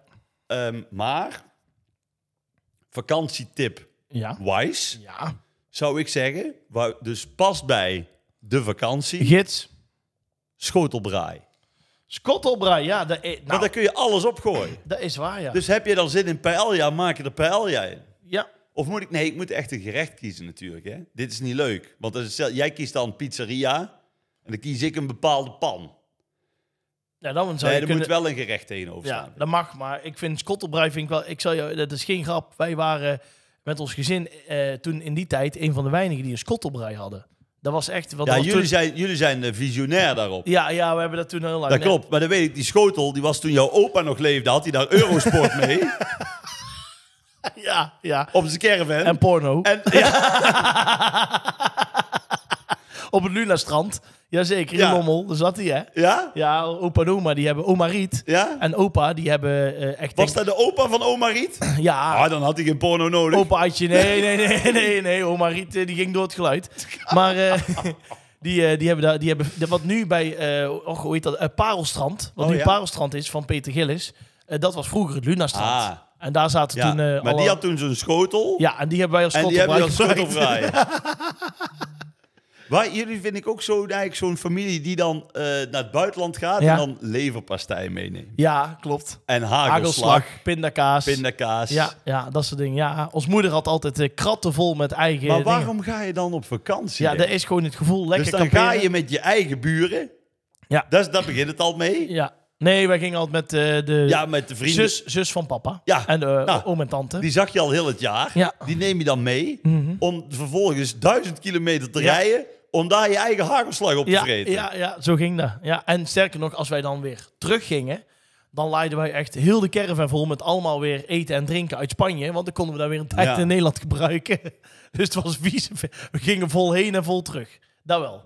Ehm, maar, vakantietip
Ja.
wise...
Ja.
zou ik zeggen, waar dus past bij de vakantie,
Gids.
schotelbraai.
Schottelbraai, ja. Dat, i-
Want
nou,
daar kun je alles op gooien.
dat is waar, ja.
Dus heb je dan zin in paella, maak je er paella in.
ja.
Of moet ik... Nee, ik moet echt een gerecht kiezen natuurlijk. Hè? Dit is niet leuk. Want als het- jij kiest dan pizzeria en dan kies ik een bepaalde pan.
Ja, dan zou
Nee,
je
er
kunnen...
moet wel een gerecht tegenover
Ja,
staan.
dat mag, maar ik vind schottelbrei vind ik wel. Ik zal jou, dat is geen grap. Wij waren met ons gezin eh, toen in die tijd een van de weinigen die een schottelbrei hadden. Dat was echt. Want dat
Ja,
was
jullie,
toen-
zijn, jullie zijn eh, visionair daarop.
ja, ja, we hebben dat toen heel lang.
Dat klopt, maar dan weet ik, die schotel, die was toen jouw opa nog leefde, had hij daar Eurosport mee.
Ja, ja.
op zijn caravan.
En porno.
En- ja,
Op het Luna-strand. Jazeker, in
Ja.
Lommel. Daar zat hij, hè?
ja?
Ja, opa en oma, die hebben oma Riet.
Ja?
En opa, die hebben eh, echt...
Was dat de opa van oma Riet?
Ja,
Ah, dan had hij geen porno nodig.
opa Adje. Nee, nee, nee, nee, nee. Oma Riet, eh, die ging door het geluid. Maar eh, die, eh, die hebben daar... Die hebben, de- wat nu bij... eh, och, hoe heet dat? Eh, Parelstrand. Wat
Oh,
nu
ja.
Parelstrand is, van Peter Gillis. eh, dat was vroeger het Luna-strand.
Ah.
En daar zaten
Ja,
toen eh,
maar
alle...
die had toen zo'n schotel.
Ja, en die hebben wij als
en die hebben dat
schottelbraak
schotel vrij. Wij, jullie vind ik ook zo, eigenlijk zo'n familie die dan eh, naar het buitenland gaat
Ja.
en dan leverpastei meeneemt.
Ja, klopt.
En hagelslag,
Hagelslag, pindakaas.
pindakaas.
Ja, eh, ja, dat soort dingen. Ja, ons moeder had altijd eh, kratten vol met eigen
Maar
dingen.
waarom ga je dan op vakantie?
Ja,
hè?
dat is gewoon het gevoel. Lekker
dus dan
kamperen.
ga je met je eigen buren.
Ja.
Dat, is- daar begint het al mee.
Ja. Nee, wij gingen altijd met eh, de
Ja, met de vrienden.
zus, zus van papa.
Ja,
En eh,
nou,
oom en tante.
Die zag je al heel het jaar.
Ja. Mhm.
Die neem je dan mee. Om vervolgens duizend kilometer te
Ja.
rijden. Om daar je eigen hagelslag op te
ja,
vreten.
ja, ja, zo ging dat. Ja. En sterker nog, als wij dan weer teruggingen... dan leiden wij echt heel de caravan vol met allemaal weer eten en drinken uit Spanje. Want dan konden we daar weer een tijd
Ja.
in Nederland gebruiken. Dus het was vies. We gingen vol heen en vol terug. Dat wel.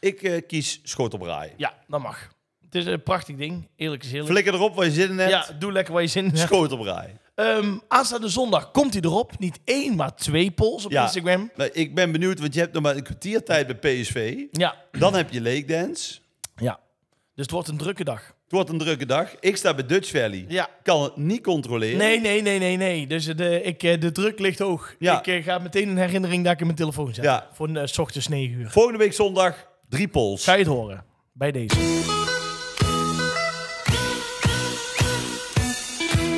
Ik eh, kies schotelbraai.
Ja, dat mag. Het is een prachtig ding. Eerlijk is eerlijk.
Flikker erop waar je zin in hebt.
Ja, doe lekker waar je zin in hebt.
Schotelbraai.
Ehm, aanstaande zondag komt hij erop. Niet één, maar twee polls op
Ja.
Instagram.
Nou, ik ben benieuwd, want je hebt nog maar een kwartier tijd bij PSV.
Ja,
Dan heb je Lake Dance.
ja. Dus het wordt een drukke dag.
Het wordt een drukke dag. Ik sta bij Dutch Valley.
Ja.
Kan het niet controleren.
Nee, nee, nee, nee, nee. Dus de, ik, eh, de druk ligt hoog.
Ja.
Ik eh, ga meteen een herinnering dat ik in mijn telefoon zet.
Ja.
Voor eh, s ochtends 9 uur.
Volgende week zondag, drie pols.
Ga je het horen? Bij deze.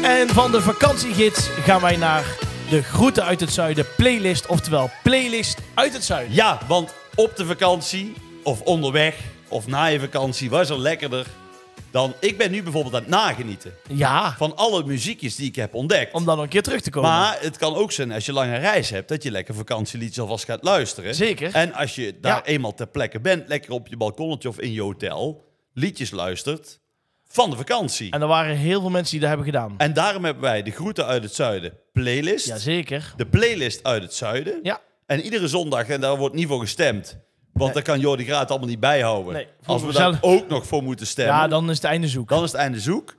En van de vakantiegids gaan wij naar de Groeten uit het Zuiden playlist. Oftewel, playlist uit het Zuiden.
Ja, want op de vakantie, of onderweg, of na je vakantie, was er lekkerder dan... Ik ben nu bijvoorbeeld aan het nagenieten
Ja,
van alle muziekjes die ik heb ontdekt.
om dan nog een keer terug te komen.
Maar het kan ook zijn, als je lange reis hebt, dat je lekker vakantieliedjes alvast gaat luisteren.
Zeker.
En als je daar
Ja.
eenmaal ter plekke bent, lekker op je balkonnetje of in je hotel, liedjes luistert van de vakantie. En,
En er waren heel veel mensen die dat hebben gedaan.
daarom hebben wij de Groeten uit het Zuiden playlist.
Jazeker.
de playlist uit het Zuiden.
Ja.
En iedere zondag, en daar wordt niet voor gestemd. Want daar kan Jordi Graat allemaal niet bijhouden.
Nee, voor
Als we daar
mezelf.
ook nog voor moeten stemmen,
ja,
dan...
dan is het einde zoek.
is het einde zoek.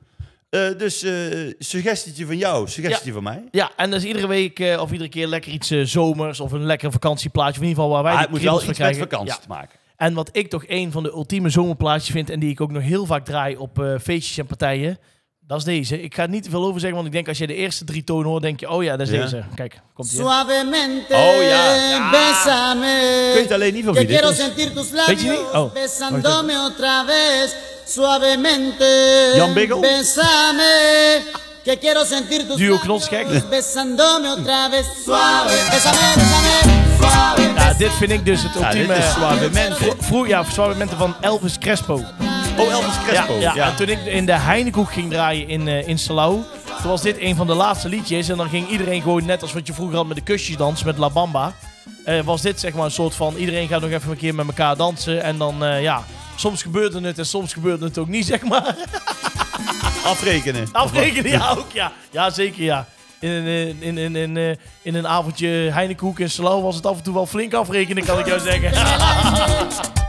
Eh, dus eh, suggestietje van jou, suggestietje van mij. Ah,
Ja, en dat is iedere week eh, of iedere keer lekker iets eh, zomers of een lekker vakantieplaatje. Of in ieder geval waar wij
Maar
de
Ah, het moet
kriebels
wel
van
iets met
krijgen.
vakantie
Ja.
te maken.
En wat ik toch een van de ultieme zomerplaatjes vind en die ik ook nog heel vaak draai op eh, feestjes en partijen, dat is deze. Ik ga er niet te veel over zeggen, want ik denk als je de eerste drie tonen hoort, denk je, oh ja, dat is
Ja.
deze. Kijk, komt ie.
Suavemente,
Oh, ja. Ja. Kun je
bésame.
het alleen niet van
Que
wie dit
quiero
is?
sentir tus
Weet je
labios
niet? Oh.
besándome otra vez. Suavemente,
Jan Biggel?
bésame. Que quiero sentir tus
Duo
labios
Knotsgek.
besándome otra vez. Suave, bésame, bésame, suave.
Ja, dit vind ik dus het
Ja, dit
ultieme.
is Suavemente.
Vroeg, ja, Suavemente van Elvis Crespo.
Oh, Elvis Crespo.
Ja, ja. en toen ik in de Heinekoek ging draaien in, eh in Salau, toen was dit een van de laatste liedjes. En dan ging iedereen gewoon, net als wat je vroeger had met de kusjesdans, met La Bamba. eh, was dit zeg maar een soort van, iedereen gaat nog even een keer met elkaar dansen. En dan, eh, ja, soms gebeurde het en soms gebeurde het ook niet, zeg maar.
Afrekenen.
Afrekenen, ja, ook ja. Ja, zeker ja. In, een, eh, in, in, in, eh, in een avondje Heinekoek in Salau was het af en toe wel flink afrekenen, kan ik jou zeggen.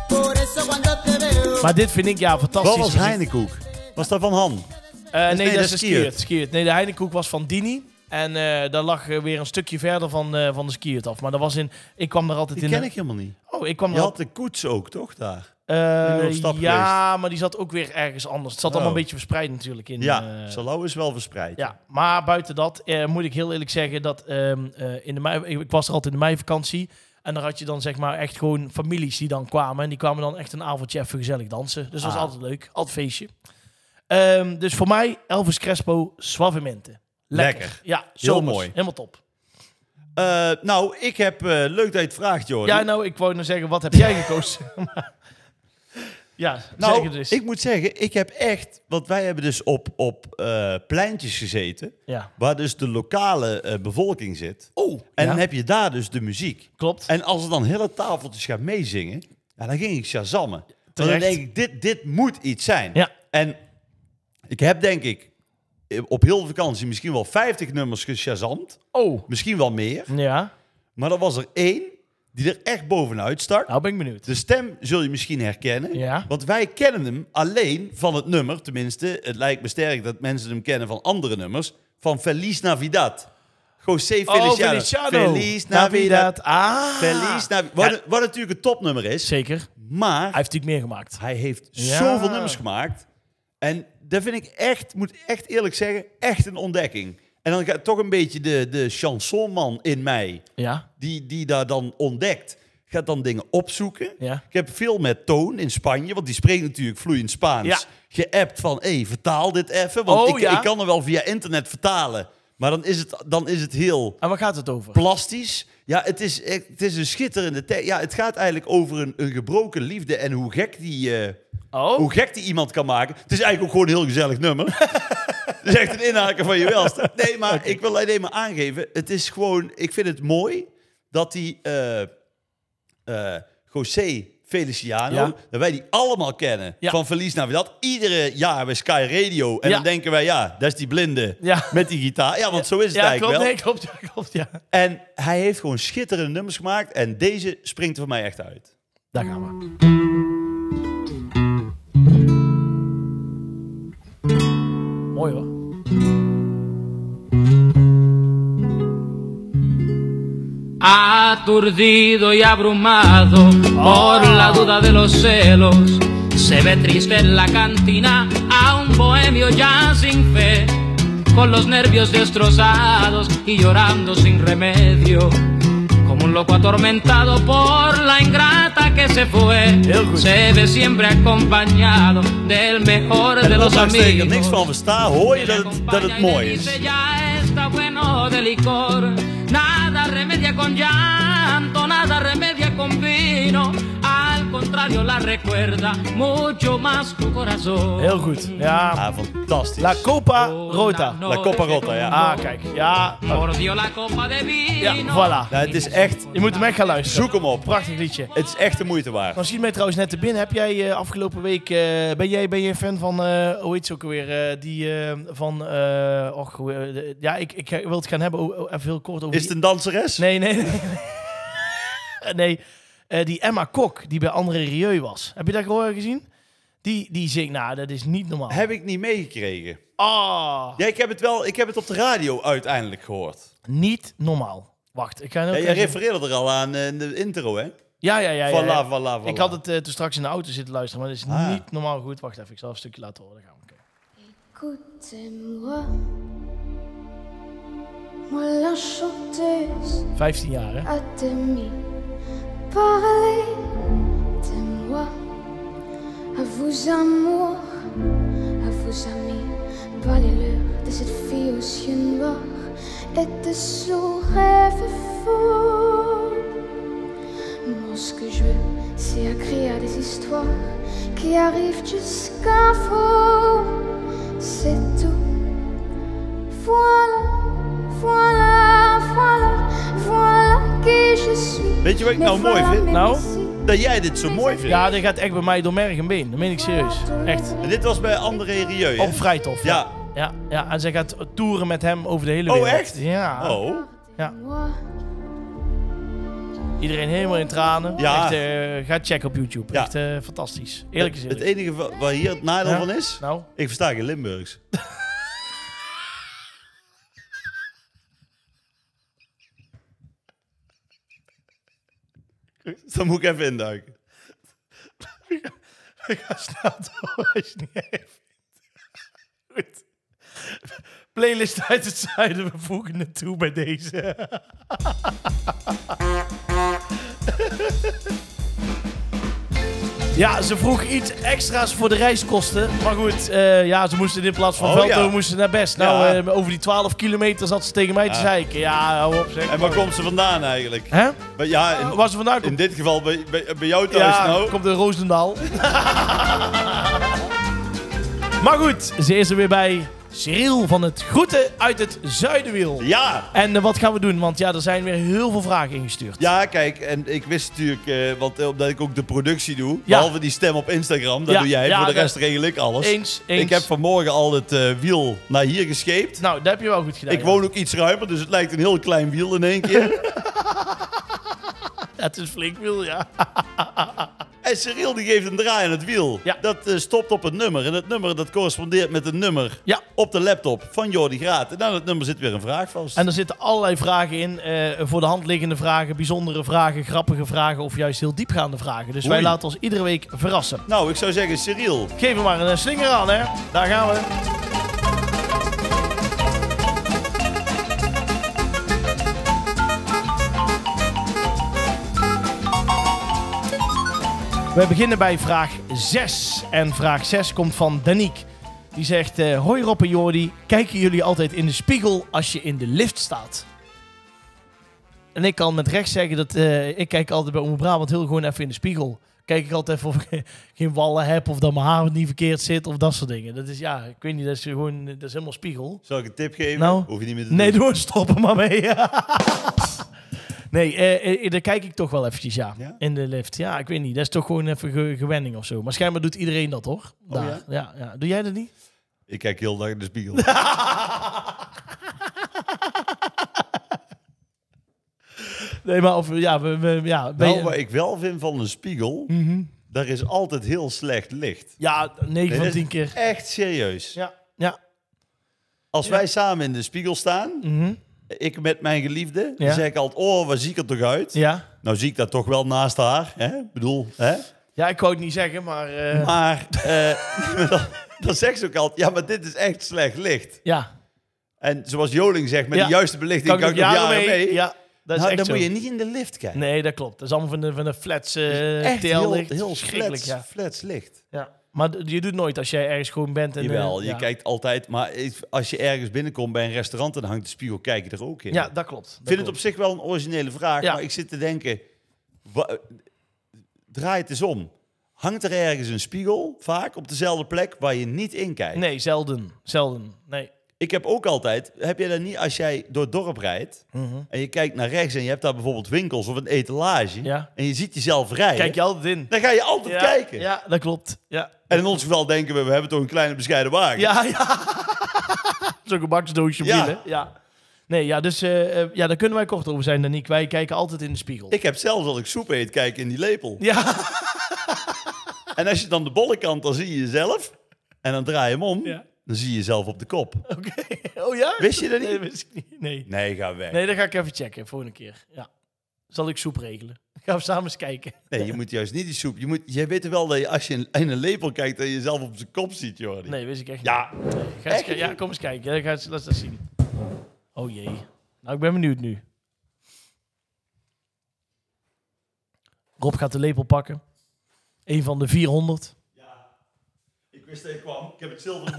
Por eso cuando te veo.
Maar dit vind ik, ja, fantastisch.
Wat was Heinekoek? Was dat van Han?
Eh, nee,
nee,
dat
dat
is de
is
skiert.
Skiert.
skiert. Nee, de Heinekoek was van Dini. En eh, daar lag eh, weer een stukje verder van, eh, van de skiert af. Maar dat was in... Ik kwam er altijd
Die
in...
ken ik helemaal niet.
Oh, ik kwam
Je
er
had
altijd...
de koets ook, toch, daar?
eh,
die nog stap
ja, maar die zat ook weer ergens anders. Het zat allemaal
Oh.
een beetje verspreid natuurlijk in...
Ja,
eh,
Salau is wel verspreid.
ja, maar buiten dat eh, moet ik heel eerlijk zeggen dat ehm, eh, in de mei, ik, ik was er altijd in de meivakantie. En dan had je dan zeg maar echt gewoon families die dan kwamen. En die kwamen dan echt een avondje even gezellig dansen. Dus dat was
Ah.
altijd leuk. Altijd feestje. Ehm, dus voor mij Elvis Crespo, Suavemente. Lekker.
Lekker.
Ja,
Heel
zomers.
mooi.
Helemaal top.
Eh, nou, ik heb... eh, leuk dat je het vraagt, Jordi.
Ja, nou, ik wou nou zeggen, wat heb jij gekozen? Maar- ja, nou, zeg
Nou,
het dus.
ik moet zeggen, ik heb echt... Want wij hebben dus op, op eh, pleintjes gezeten...
Ja.
waar dus de lokale eh, bevolking zit.
Oh,
En
ja,
dan heb je daar dus de muziek.
klopt.
En als er dan hele tafeltjes gaan meezingen... Ja, dan ging ik shazammen. Want Dan
Terecht.
denk ik, dit, dit moet iets zijn.
Ja.
En ik heb denk ik... eh, op heel de vakantie misschien wel 50 nummers geshazamd.
Oh.
Misschien wel meer.
Ja,
Maar er was er één die er echt bovenuit stak.
nou ben ik benieuwd.
De stem zul je misschien herkennen.
Ja.
Want wij kennen hem alleen van het nummer. Tenminste, het lijkt me sterk dat mensen hem kennen van andere nummers. Van Feliz Navidad. José Feliciano.
Oh, Feliciano.
Feliz Navidad.
Ah.
Feliz Navidad. Wat, wat natuurlijk een topnummer is.
Zeker. Hij
Maar
heeft natuurlijk meer gemaakt.
hij heeft
Ja.
zoveel nummers gemaakt. En dat vind ik echt, moet echt eerlijk zeggen, echt een ontdekking. En dan gaat toch een beetje de, de chansonman in mij
Ja.
die, die daar dan ontdekt, gaat dan dingen opzoeken.
Ja.
Ik heb veel met Toon in Spanje, want die spreekt natuurlijk vloeiend Spaans.
Ja.
Geappt van, hé, vertaal dit even. Want
Oh,
ik,
ja.
ik kan er wel via internet vertalen. Maar dan is het, dan is het heel
En waar gaat het over?
plastisch. Ja, het is, echt- het is een schitterende tekst. Ja, het gaat eigenlijk over een, een gebroken liefde en hoe gek die... eh,
Oh.
hoe gek die iemand kan maken. Het is eigenlijk ook gewoon een heel gezellig nummer. Het is echt een inhaken van je welste. Nee, maar ik wil alleen maar aangeven. Het is gewoon... Ik vind het mooi dat die eh eh, José Feliciano...
Ja.
dat wij die allemaal kennen.
Ja.
Van Verlies naar dat Iedere jaar bij Sky Radio. En
Ja.
dan denken wij, ja, dat is die blinde
Ja.
met die gitaar. Ja, want zo is het
Ja,
eigenlijk
klopt.
wel.
Nee, klopt. Ja, klopt. Ja.
En hij heeft gewoon schitterende nummers gemaakt. En deze springt er voor mij echt uit.
Daar gaan we. Mooi hoor.
Aturdido y abrumado por la duda de los celos, se ve triste en la cantina a un bohemio ya sin fe, con los nervios destrozados y llorando sin remedio, como un loco atormentado por la ingrata que se fue.
Heel goed.
Se ve siempre acompañado del mejor de
En
los
ondanks dat ik er
amigos.
niks van versta, hoor je dat het,
acompaña
dat
y
het
le
mooi is.
dice, Ya está bueno de licor, nada remedia con llanto, nada remedia con vino. Al contrario, la recuerda mucho más tu corazón.
Heel goed. Ja.
Ah, fantastisch.
La Copa Rota.
Ah, La Copa Rotta, ja.
Ah, kijk. Ja. Oh.
Mordió la copa de
Ja,
vino.
voilà.
Nou, het is echt...
Je moet hem echt gaan luisteren.
Zoek hem op.
Prachtig liedje.
Het is echt de moeite waard.
Nou, schiet mij trouwens net te binnen. Heb jij eh, afgelopen week... eh, ben, jij, ben jij fan van... eh hoe heet ze ook alweer? eh, die eh, van... eh, och, hoe, eh, de- ja, ik, ik wil het gaan hebben. o- o- even heel kort over... die-
Is het een danseres?
Nee, nee. Nee. nee. eh, die Emma Kok, die bij André Rieu was. Heb je dat gehoord gezien? Die, die zingt, nou, dat is niet normaal.
Heb ik niet meegekregen.
Ah,
Ja, ik heb het wel... Ik heb het op de radio uiteindelijk gehoord.
niet normaal. Wacht, ik ga nu
Ja,
ook
jij
even-
refereerde er al aan eh, in de intro, hè?
Ja, ja, ja. ja,
Voilà,
ja.
voilà, voilà.
Ik had het eh, toen straks in de auto zitten luisteren, maar dat is
Ah.
niet normaal goed. Wacht even, ik zal een stukje laten horen. Dan gaan we. kijken.
Écoutez-moi, moi la chanteuse
15 jaar, hè?
à demi parler de moi, à vous amour, à vous amis, parlez-leur de cette fille aux yeux noirs et de son rêve faux. Moi, ce que je veux, c'est écrire des histoires qui arrivent jusqu'à vous. C'est tout. Voilà, voilà, voilà, voilà qui je suis.
Weet je wat ik
Mais
nou mooi
voilà
vind?
mes
Nou?
récits.
Dat jij dit zo mooi vindt.
Ja, dat gaat echt bij mij door merg en been. Dat meen ik serieus. Echt.
En dit was bij André Rieu, hè?
Op Vrijthof.
Ja.
ja. Ja, en zij gaat toeren met hem over de hele
Oh,
wereld.
echt?
Ja.
Oh.
Moi,
Iedereen helemaal in tranen.
Ja.
Echt, eh, ga checken op YouTube.
Ja.
Echt eh, fantastisch. Eerlijk gezegd.
Het enige wa- waar hier het nadeel
Ja.
van is...
Nou,
Ik versta geen Limburgs. Dan moet ik even induiken.
ik ga snel door als je het niet heeft. Goed. Playlist uit het zuiden, we voegen het toe bij deze. Ja, ze vroeg iets extra's voor de reiskosten. Maar goed, eh, ja, ze moesten in plaats van
Oh,
Veldhoven
ja.
moesten naar Best. Nou,
Ja.
eh, over die 12 kilometer zat ze tegen mij te
Ja.
zeiken. Ja, hou op zeg.
En waar komt ze vandaan eigenlijk?
Hè?
Maar Ja, in,
Waar ze vandaan komt.
in dit geval bij, bij, bij jou thuis
Ja,
nou.
komt de Roosendaal. maar goed, ze is er weer bij. Cyril van het Groeten uit het Zuidenwiel.
Ja!
En eh, wat gaan we doen? Want ja, er zijn weer heel veel vragen ingestuurd.
Ja, kijk, en ik wist natuurlijk, eh, want eh, omdat ik ook de productie doe,
Ja.
behalve die stem op Instagram, dat
Ja,
doe jij,
ja,
voor de
dat-
rest regel ik alles.
Eens, eens.
Dus Ik heb vanmorgen al het eh, wiel naar hier gescheept.
Nou, dat heb je wel goed gedaan.
ik
ja.
woon ook iets ruimer, dus het lijkt een heel klein wiel in één keer.
Het is flink wiel, ja.
en Cyril die geeft een draai aan het wiel.
Ja.
Dat eh, stopt op een nummer. En dat nummer dat correspondeert met een nummer
Ja.
op de laptop van Jordi Graat. En aan het nummer zit weer een vraag vast.
En er zitten allerlei vragen in. eh, voor de hand liggende vragen, bijzondere vragen, grappige vragen of juist heel diepgaande vragen. Dus wij
Oei.
laten ons iedere week verrassen.
Nou, ik zou zeggen, Cyril,
Geef hem maar een eh, slinger aan, hè. Daar gaan we. We beginnen bij vraag 6. En vraag 6 komt van Daniek. Die zegt, eh, hoi Rob en Jordi, kijken jullie altijd in de spiegel als je in de lift staat? En ik kan met recht zeggen dat eh, ik kijk altijd bij Omroep Brabant heel gewoon even in de spiegel. Kijk ik altijd even of ik geen wallen heb of dat mijn haar niet verkeerd zit of dat soort dingen. Dat is ja, ik weet niet, dat is gewoon, dat is helemaal spiegel.
zal ik een tip geven?
Nou.
Hoef je niet meer te
Nee,
doen.
doe stoppen maar mee. nee, eh, eh, daar kijk ik toch wel eventjes, ja.
Ja?
In de lift. Ja, ik weet niet. Dat is toch gewoon even ge- gewenning of zo. Maar schijnbaar doet iedereen dat, hoor. Daar.
Oh, ja?
Ja, ja. Doe jij dat niet?
Ik kijk heel dag in de spiegel.
Nee, maar of, ja, we, we- ja, ben
Nou,
je-
wat ik wel vind van een spiegel,
Mhm.
daar is altijd heel slecht licht.
ja, 9
Dat
van
is
10 keer.
Echt serieus.
Ja, ja.
Als wij samen in de spiegel staan, ik met mijn geliefde,
Mhm. Ja.
dan zeg ik altijd, oh, wat zie ik er toch uit?
Ja.
Nou zie ik dat toch wel naast haar, hè? Ik bedoel, hè?
Ja, ik wou het niet zeggen, maar... eh,
Maar eh, dan, dan zegt ze ook altijd, ja, maar dit is echt slecht licht.
ja.
En zoals Joling zegt, met
Ja.
de juiste belichting kan ik nog
nog
jaren mee.
Ja, dat is
Nou,
echt
dan
zo.
moet je niet in de lift kijken.
Nee, dat klopt. Dat is allemaal van de, van de flats eh
echt heel,
TL-licht.
heel
Schrikkelijk,
flats,
ja.
flats licht.
ja. Maar d- je doet nooit als jij ergens gewoon bent. En,
Jawel,
eh,
je
ja.
kijkt altijd, maar ik- als je ergens binnenkomt bij een restaurant en hangt de spiegel, kijk je er ook in.
Ja,
ik
dat klopt. Dat
vind het op
klopt.
zich wel een originele vraag,
Ja.
maar ik zit te denken, wa- draai het eens om. Hangt er ergens een spiegel, vaak op dezelfde plek, waar je niet in kijkt?
Nee, zelden. Zelden. Nee.
Ik heb ook altijd, heb je dat niet als jij door het dorp rijdt en je kijkt naar rechts en je hebt daar bijvoorbeeld winkels of een etalage
Ja.
en je ziet jezelf rijden,
Kijk je altijd in.
dan ga je altijd
ja,
kijken.
Ja, dat klopt. Ja.
En in ons geval denken we, we hebben toch een kleine bescheiden wagen.
Ja, ja. Zo'n gebaksdoosje
Ja.
binnen. Ja. Nee, ja, dus eh, eh, ja, daar kunnen wij kort over zijn, Daniek. Wij kijken altijd in de spiegel.
Ik heb zelfs als ik soep eet, kijk in die lepel.
Ja.
En als je dan de bolle kant, dan zie je jezelf. En dan draai je hem om,
Ja.
dan zie je jezelf op de kop.
Oké. Oh ja?
Wist je dat niet?
Nee, wist ik niet. Nee.
Nee, ga weg.
Nee,
Nee,
dat ga ik even checken volgende keer. Ja. Zal ik soep regelen? Gaan we samen eens kijken.
je moet juist niet die soep. Je, moet, je weet wel dat je, als je in, in een lepel kijkt, dat je jezelf op zijn kop ziet, Jordi.
Nee, wist ik echt
Ja,
niet. Ga eens
echt?
ki- ja, kom eens kijken. Ja, Ga eens, laat dat zien. Oh jee. Nou, ik ben benieuwd nu. Rob gaat de lepel pakken. Een van de 400.
ik wist dat je kwam. Ik heb het zilver.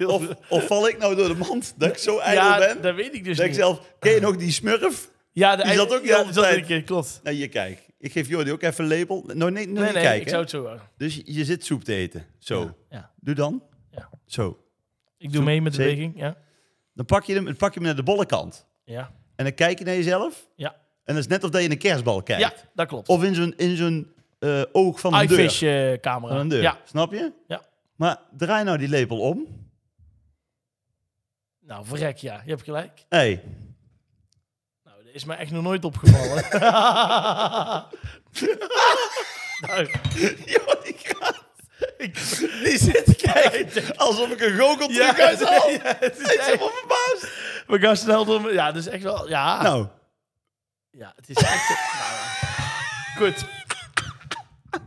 of, of val ik nou door de mand dat ik zo ijdel
ja,
ben?
dat weet ik dus
dat ik
niet.
zelf... Ken je nog die smurf?
ja, de
die zat ook de
ja,
hele
die zat er
tijd.
een keer, klopt.
Nou, hier, kijk. Ik geef Jordi ook even een lepel. Nou, nee, nee,
Nee,
niet
nee,
kijken.
ik zou het zo houden.
Dus je- je zit soep te eten. Zo.
Ja.
Doe dan.
Ja.
Zo.
Ik doe mee met de
zeker.
beweging. Ja.
Dan pak je hem, dan pak je hem naar de bolle kant.
Ja.
En dan kijk je naar jezelf.
Ja.
En dat is net of dat je in een kerstbal kijkt.
ja, dat klopt.
Of in zo'n, in zo'n eh, oog van een deur.
iFish eh, camera.
Van een deur.
Ja.
Snap je?
Ja.
Maar draai nou die lepel om.
Nou, verrek ja. Je hebt gelijk.
Hé, hey,
Nou, dat is mij echt nog nooit opgevallen. nou,
Jordi Graat. Die zit te kijken alsof ik een goocheltruc uit de hand.
ja, het is
Ik ben
echt-
helemaal verbaasd.
we gaan snel door. Ja, dat is echt wel... Ja,
Nou,
ja het is echt... nou, ja. Goed.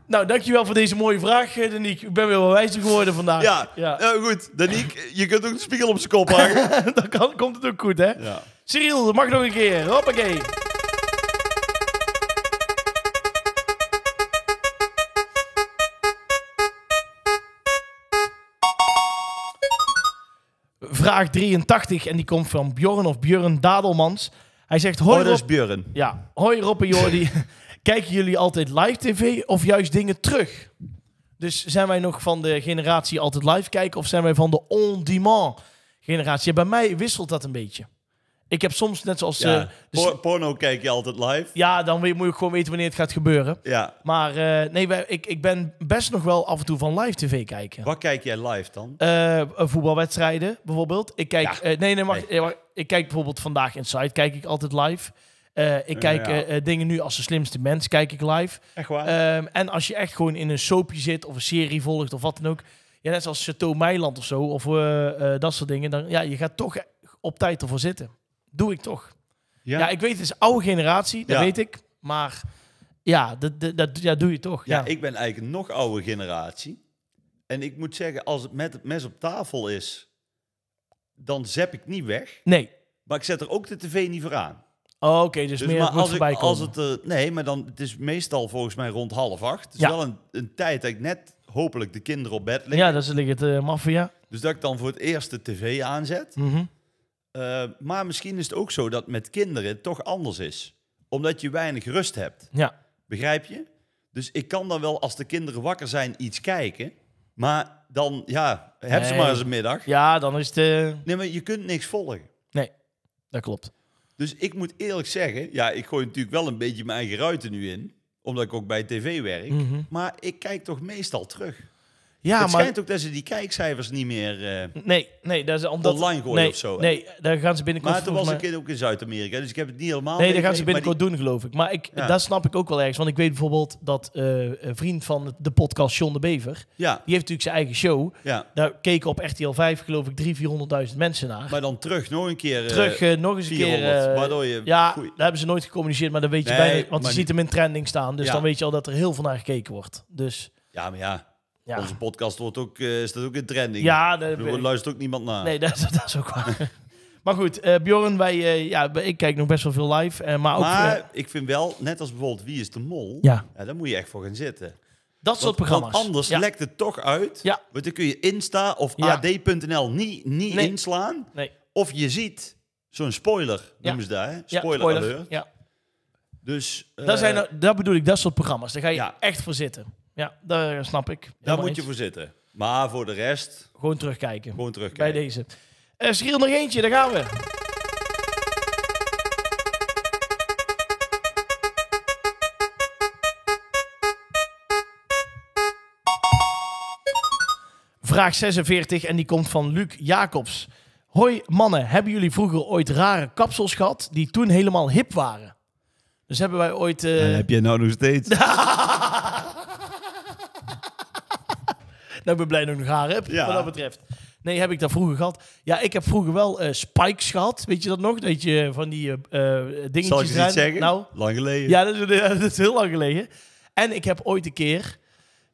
Nou, dankjewel voor deze mooie vraag, eh, Daniek. Ik ben weer wel wijzer geworden vandaag.
ja.
ja.
Nou, goed. Daniek, je kunt ook de spiegel op zijn kop hangen.
Dan kan, komt het ook goed, hè?
ja.
Cyril, dat mag nog een keer. Hoppakee. Vraag 83 en die komt van Bjorn of Björn Dadelmans. Hij zegt: Hoi
Oh, dat is
Rob-
Björn.
ja, hoi Rob en Jordi. Kijken jullie altijd live tv of juist dingen terug? Dus zijn wij nog van de generatie altijd live kijken of zijn wij van de on-demand generatie? Ja, bij mij wisselt dat een beetje. Ik heb soms net zoals...
Ja.
eh, dus-
Por- porno kijk je altijd live.
ja, dan weet- moet je gewoon weten wanneer het gaat gebeuren.
Ja.
Maar eh, nee, wij- ik, ik ben best nog wel af en toe van live tv kijken.
Wat kijk jij live dan?
Eh, voetbalwedstrijden bijvoorbeeld. Ik kijk,
Ja.
eh, nee, nee, wacht,
Nee.
eh, wacht. ik kijk bijvoorbeeld vandaag Inside, kijk ik altijd live. Eh, ik kijk
ja.
eh, eh, dingen nu als de slimste mens, kijk ik live.
Echt waar?
Ehm, en als je echt gewoon in een soapje zit of een serie volgt of wat dan ook. Ja, net zoals Chateau Meiland of zo, of eh, eh, dat soort dingen. Dan, ja, je gaat toch op tijd ervoor zitten. Doe ik toch. Ja, ik weet, het is oude generatie, dat
Ja.
weet ik. Maar ja, dat, dat, dat ja, doe je toch.
Ja,
Ja,
ik ben eigenlijk een nog oude generatie. En ik moet zeggen, als het met het mes op tafel is, dan zep ik niet weg.
Nee.
Maar ik zet er ook de tv niet voor aan.
Oh, Oké, dus,
Dus
meer
maar
moet
als, ik,
voorbij komen.
als het eh, nee, maar dan het is meestal volgens mij rond half acht. Het is
Ja.
wel een, een tijd dat ik net hopelijk de kinderen op bed liggen.
ja, dat is liggen het eh, maffia.
Dus dat ik dan voor het eerst de tv aanzet.
Mhm.
Eh, maar misschien is het ook zo dat met kinderen het toch anders is. Omdat je weinig rust hebt.
Ja.
Begrijp je? Dus ik kan dan wel als de kinderen wakker zijn iets kijken. Maar dan, ja, heb ze
Nee.
maar eens een middag.
ja, dan is het... eh,
Nee, maar je kunt niks volgen.
Nee, dat klopt.
Dus ik moet eerlijk zeggen, ja, ik gooi natuurlijk wel een beetje mijn eigen ruiten nu in. Omdat ik ook bij tv werk.
Mhm.
Maar ik kijk toch meestal terug.
Ja,
het
maar...
schijnt ook dat ze die kijkcijfers niet meer... eh,
Nee, nee, dat is omdat...
Online gooien
nee,
of zo, hè?
Nee, daar gaan ze binnenkort...
maar toen was
volgens
ik
mij-
in- ook in Zuid-Amerika, dus ik heb het niet helemaal...
Nee, dat gaan ze
meegekregen, maar
binnenkort doen, geloof ik. Maar ik,
Ja.
dat snap ik ook wel ergens. Want ik weet bijvoorbeeld dat eh, een vriend van de podcast, John de Bever...
die- Ja,
Die heeft natuurlijk zijn eigen show.
ja.
Daar keken op RTL 5, geloof ik, 300.000, 400.000 mensen naar.
Maar dan terug nog een keer... eh,
terug eh, nog eens een keer.
400,
eh,
waardoor je
ja,
goeie-
daar hebben ze nooit gecommuniceerd, maar dat weet je
Nee,
bijna. Want je
maar
ziet hem in trending staan, dus
Ja.
dan weet je al dat er heel veel naar gekeken wordt. Dus
Ja, maar ja,
ja,
onze podcast wordt ook, eh, staat ook in trending.
ja dat-
Ik bedoel, Er luistert ook niemand naar.
nee, dat, dat is ook waar. maar goed, eh, Bjorn, wij, eh, ja, ik kijk nog best wel veel live, eh, maar ook
maar
eh,
ik vind wel, net als bijvoorbeeld Wie is de Mol,
Ja.
daar moet je echt voor gaan zitten.
dat soort
Want-
programma's.
Want anders
ja.
lekt het toch uit.
Ja.
Want dan kun je Insta of
Ja.
AD.nl niet, niet
Nee.
inslaan.
Nee.
Of je ziet zo'n spoiler, noemen ze daar. Hè?
Ja,
Spoiler, alert.
Ja.
Dus eh,
Dat, zijn, nou- dat bedoel ik, dat soort programma's. Daar ga je
Ja.
echt voor zitten. Ja, daar snap ik.
daar
Helemaal
moet
eens.
je voor zitten. Maar voor de rest,
Gewoon terugkijken.
gewoon terugkijken.
bij deze. Eh Schriel nog eentje, daar gaan we. Vraag 46 en die komt van Luc Jacobs. Hoi mannen, hebben jullie vroeger ooit rare kapsels gehad die toen helemaal hip waren? Dus hebben wij ooit... eh,
heb je nou nog steeds?
Nou, ik ben blij dat ik nog haar heb,
Ja.
wat dat betreft. Nee, heb ik dat vroeger gehad? Ja, ik heb vroeger wel eh, spikes gehad. Weet je dat nog? Dat je van die eh, eh, dingetjes...
Zal ik je
erin-
iets zeggen?
Nou,
Lang geleden.
ja, dat is, dat is heel lang geleden. En ik heb ooit een keer...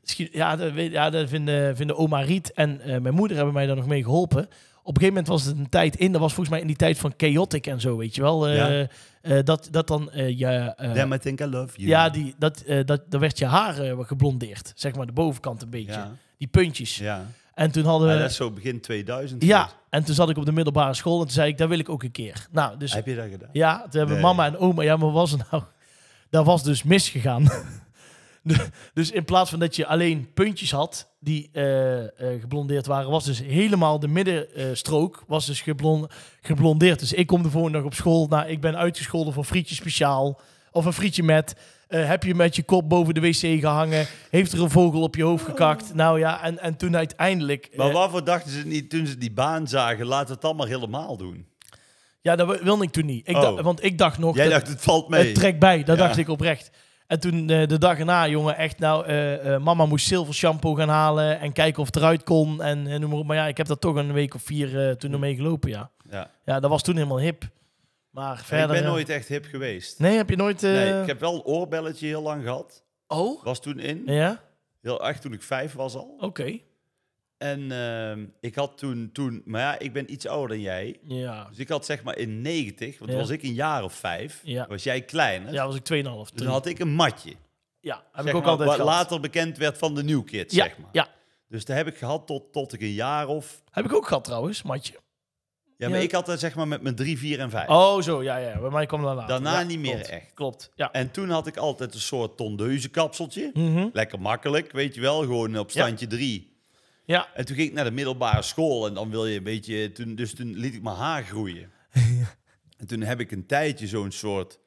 misschien- Ja, dat, weet- ja, dat vinden, vinden oma Riet en eh, mijn moeder hebben mij daar nog mee geholpen. Op een gegeven moment was het een tijd in. Dat was volgens mij in die tijd van Chaotic en zo, weet je wel. Eh,
Ja.
eh, dat, dat dan... eh, ja, eh,
Damn, I think I love you.
ja, die, dat, eh, dat, dan werd je haar eh, geblondeerd. Zeg maar de bovenkant een beetje.
Ja.
Die puntjes.
Ja.
En toen hadden we...
Ja, Ah, dat is zo begin 2000.
Eh, Ja,
geweest.
en toen zat ik op de middelbare school en toen zei ik, dat wil ik ook een keer. Nou, dus
Heb je dat gedaan?
ja, toen hebben
Nee.
mama en oma, ja, maar wat was het nou? Dat was dus misgegaan. De- dus in plaats van dat je alleen puntjes had die eh, eh, geblondeerd waren, was dus helemaal de middenstrook was dus geblon- geblondeerd. Dus ik kom de volgende dag op school, nou, ik ben uitgescholden voor frietje speciaal of een frietje met. Eh, heb je met je kop boven de wc gehangen? Heeft er een vogel op je hoofd gekakt? Nou ja, en, en toen uiteindelijk...
Maar
eh,
waarvoor dachten ze niet toen ze die baan zagen, laat het allemaal helemaal doen?
Ja, dat wi- wilde ik toen niet. Ik
Oh.
dacht- want ik dacht nog,
Jij
dat-
dacht, het valt mee.
het trekt bij. Dat
Ja.
dacht ik oprecht. En toen eh, de dag erna, jongen, echt nou, eh, eh, mama moest zilver shampoo gaan halen en kijken of het eruit kon. En, en noem maar op. Maar ja, ik heb dat toch een week of vier eh, toen ermee gelopen, ja.
Ja.
Ja, dat was toen helemaal hip. Maar verder...
ik ben
ja.
nooit echt hip geweest.
Nee, heb je nooit... eh,
Nee, ik heb wel een oorbelletje heel lang gehad.
Oh?
Was toen in.
Ja?
Heel echt toen ik vijf was al.
Oké.
En ehm, ik had toen, toen... Maar ja, ik ben iets ouder dan jij.
Ja.
Dus ik had zeg maar in 90, want toen
Ja.
was ik een jaar of vijf.
Ja.
Was jij kleiner.
Ja, was ik 2,5.
Toen
drie.
Dus had ik een matje.
ja, heb
zeg
ik ook
maar,
altijd
wat
gehad.
later bekend werd van de New Kids,
ja,
zeg maar.
ja,
Dus dat heb ik gehad tot, tot ik een jaar of...
heb ik ook gehad trouwens, Matje.
Ja, maar
Ja.
ik had dat zeg maar met mijn 3, 4 en 5.
Oh, zo, ja, ja. Bij mij kwam dat later.
Daarna
Ja,
niet meer
klopt.
echt.
Klopt, ja.
En toen had ik altijd een soort tondeuze kapseltje.
Mhm.
Lekker makkelijk, weet je wel. Gewoon op standje 3.
ja.
En toen ging ik naar de middelbare school en dan wil je een beetje... Toen, dus toen liet ik mijn haar groeien. En toen heb ik een tijdje zo'n soort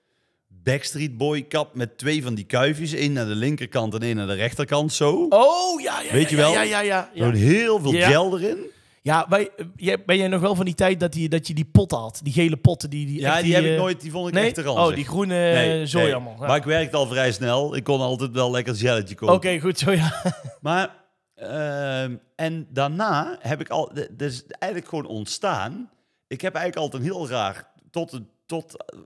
Backstreet Boy kap met twee van die kuifjes. één naar de linkerkant en één naar de rechterkant, zo.
Oh, ja, ja.
Weet
ja,
je wel?
Ja, ja, ja. ja.
Zo'n heel veel
Ja.
gel erin.
Ja, wij- jij- ben jij nog wel van die tijd dat, die, dat je die potten had? Die gele potten. Die, die,
Ja,
echt
die, heb ik
eh,
nooit, die vond ik
nee?
echt te ranzig.
Oh, die groene
Nee,
nee, zooi
nee.
allemaal. Ja.
Maar ik werkte al vrij snel. Ik kon altijd wel lekker gelletje kopen.
Oké, goed zo, ja.
Maar, ehm, en daarna heb ik al, d- dat is eigenlijk gewoon ontstaan. Ik heb eigenlijk altijd een heel raar, tot, een- tot eh,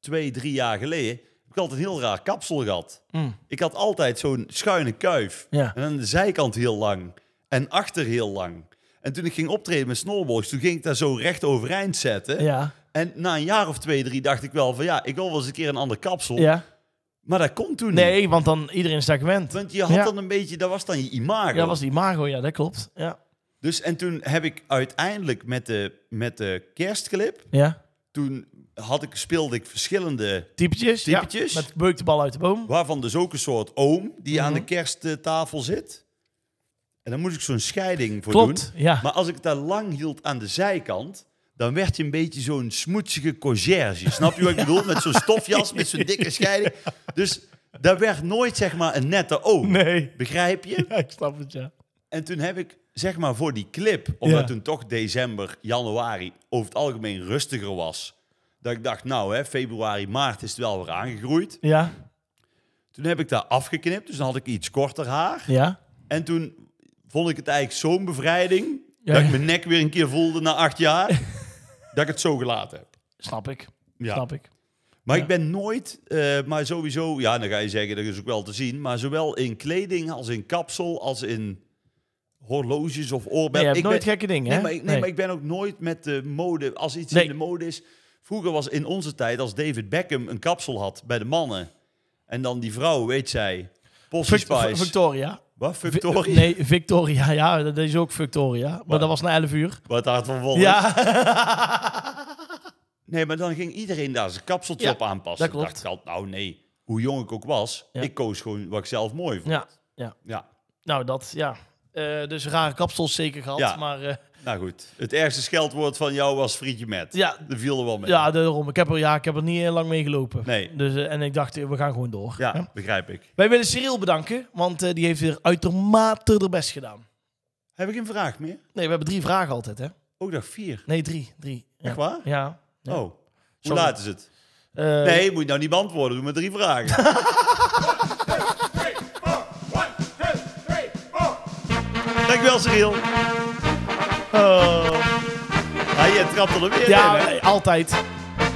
twee, drie jaar geleden, heb ik altijd een heel raar kapsel gehad.
Mm.
Ik had altijd zo'n schuine kuif.
Ja.
En aan de zijkant heel lang. En achter heel lang. En toen ik ging optreden met Snowballs, toen ging ik daar zo recht overeind zetten.
Ja,
En na een jaar of twee, drie dacht ik wel van ja, ik wil wel eens een keer een ander kapsel.
ja.
Maar dat kon toen niet.
Nee, want dan iedereen is daar gewend.
Want je had
Ja.
dan een beetje, dat was dan je imago.
Ja, dat was die imago, ja, dat klopt. Ja,
Dus en toen heb ik uiteindelijk met de, met de kerstclip,
ja. toen
toen had ik, speelde ik verschillende,
typetjes. ja.
Typetjes.
met beuk de bal uit de boom.
waarvan dus ook een soort oom die aan
Mhm.
de kersttafel zit. En dan moest ik zo'n scheiding voor
Klopt,
doen.
ja.
Maar als ik het daar lang hield aan de zijkant, dan werd je een beetje zo'n smoetsige conciërge. Snap je wat ik bedoel? Met zo'n stofjas, met zo'n dikke scheiding. Dus daar werd nooit zeg maar een nette oom.
Nee.
Begrijp je?
Ja, ik snap het, ja.
En toen heb ik, zeg maar, voor die clip, omdat
Ja.
toen toch december, januari over het algemeen rustiger was, dat ik dacht, nou hè, februari, maart is het wel weer aangegroeid.
Ja,
Toen heb ik daar afgeknipt, dus dan had ik iets korter haar.
ja.
En toen vond ik het eigenlijk zo'n bevrijding,
Ja,
dat ik
ja.
mijn nek weer een keer voelde na acht jaar, dat ik het zo gelaten heb.
Snap ik.
Ja.
Snap ik.
Maar
Ja.
ik ben nooit, eh, maar sowieso, ja, dan ga je zeggen, dat is ook wel te zien, maar zowel in kleding als in kapsel, als in horloges of oorbellen.
Nee, je hebt
ik
nooit
ben,
gekke dingen,
Nee,
hè?
maar ik, nee, maar ik ben ook nooit met de mode. Als iets
Nee.
in de mode is. Vroeger was in onze tijd, als David Beckham een kapsel had bij de mannen. En dan die vrouw, weet zij. Posse
Vic-
Spice.
Victoria.
Wat?
Vi-
Victoria?
Nee, Victoria. Ja, dat is ook Victoria. Maar dat was na 11 uur.
Wat hard van Wolf.
Ja.
Nee, maar dan ging iedereen daar zijn kapseltje
Ja,
op aanpassen.
dat klopt.
Ik dacht altijd, nou nee, hoe jong ik ook was.
Ja.
Ik koos gewoon wat ik zelf mooi vond.
Ja, ja.
Ja.
Nou, dat, ja. Eh, dus rare kapsels zeker gehad.
Ja.
Maar eh,
Nou goed. Het ergste scheldwoord van jou was frietje met.
ja,
Dat viel er wel mee.
ja, daarom. Ik heb er, ja, ik heb er niet heel lang mee gelopen.
Nee.
Dus, eh, en ik dacht, eh, we gaan gewoon door.
Ja,
Hè?
begrijp ik.
Wij willen Cyril bedanken, want eh, die heeft weer uitermate haar best gedaan.
Heb ik een vraag meer?
Nee, we hebben drie vragen altijd, hè?
Ook dag vier.
Nee, drie. drie. Ja.
Echt waar?
Ja. Ja.
Oh. Hoe
Sorry.
laat is het?
Eh,
Nee, moet je nou niet beantwoorden. Doe maar drie vragen. Dankjewel, Cyril. Oh. Ja, je trapt er weer
Ja,
in, hè?
nee, altijd.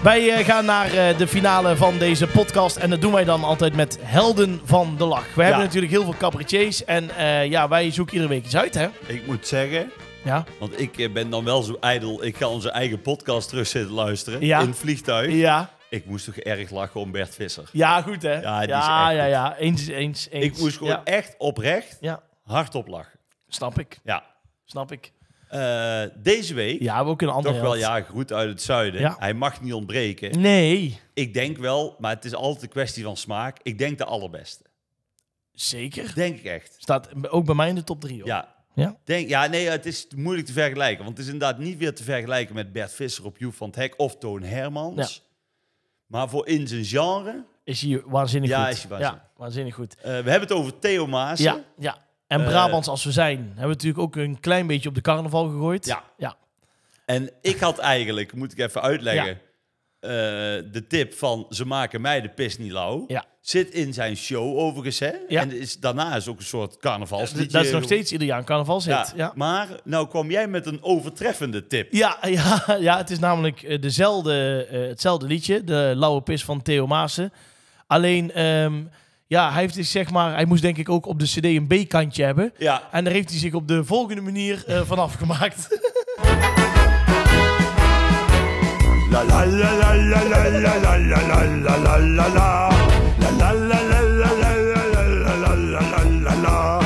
Wij eh, gaan naar eh, de finale van deze podcast. En dat doen wij dan altijd met Helden van de Lach. We hebben natuurlijk heel veel cabaretiers. En eh, ja, wij zoeken iedere week iets uit, hè?
Ik moet zeggen,
Ja.
want ik eh, ben dan wel zo ijdel. Ik ga onze eigen podcast terug zitten luisteren
Ja.
in het vliegtuig.
Ja.
Ik moest toch erg lachen om Bert Visser.
Ja, goed hè?
Ja, die is
ja,
echt
ja, ja.
goed.
Eens, eens, eens.
Ik moest gewoon
Ja,
echt oprecht
ja.
hardop lachen.
snap ik.
Ja.
Snap ik.
Eh, deze week,
Ja, we hebben ook een andere
toch wel
held.
ja, groet uit het zuiden.
Ja.
Hij mag niet ontbreken.
Nee,
Ik denk wel, maar het is altijd een kwestie van smaak. Ik denk de allerbeste.
zeker.
Denk ik echt.
Staat ook bij mij in de top 3 hoor.
Ja.
Ja?
Denk, ja, nee, het is moeilijk te vergelijken. Want het is inderdaad niet weer te vergelijken met Bert Visser op Joep van het Hek of Toon Hermans. Maar voor in zijn genre.
Is hij waanzinnig
Ja,
goed.
is hij waanzinnig.
Ja, waanzinnig goed.
eh, we hebben het over Theo Maas.
Ja, ja. En
Eh,
Brabants als we zijn, hebben we natuurlijk ook een klein beetje op de carnaval gegooid.
Ja.
Ja.
En ik had eigenlijk, moet ik even uitleggen, eh, de tip van ze maken mij de pis niet lauw.
Ja.
Zit in zijn show overigens, hè?
Ja.
En is, daarna is ook een soort carnavalsliedje.
Dat is nog steeds ieder jaar een carnavalshit.
Ja,
Ja.
Maar nou kwam jij met een overtreffende tip.
Ja, ja, ja, het is namelijk eh, dezelfde, eh, hetzelfde liedje, de Lauwe Pis van Theo Maassen. Alleen, ehm, ja, hij heeft dus zeg maar, hij moest denk ik ook op de CD een B-kantje hebben.
Ja.
En daar heeft hij zich op de volgende manier eh, vanaf gemaakt.
La la la la la la la la la la la la la la. La la la la la la la la la la la la la la.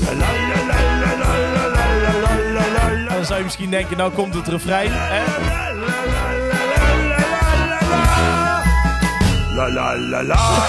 La la la la la la la la la la la la la.
Dan zou je misschien denken, nou komt het refrein. Hè?
la la la.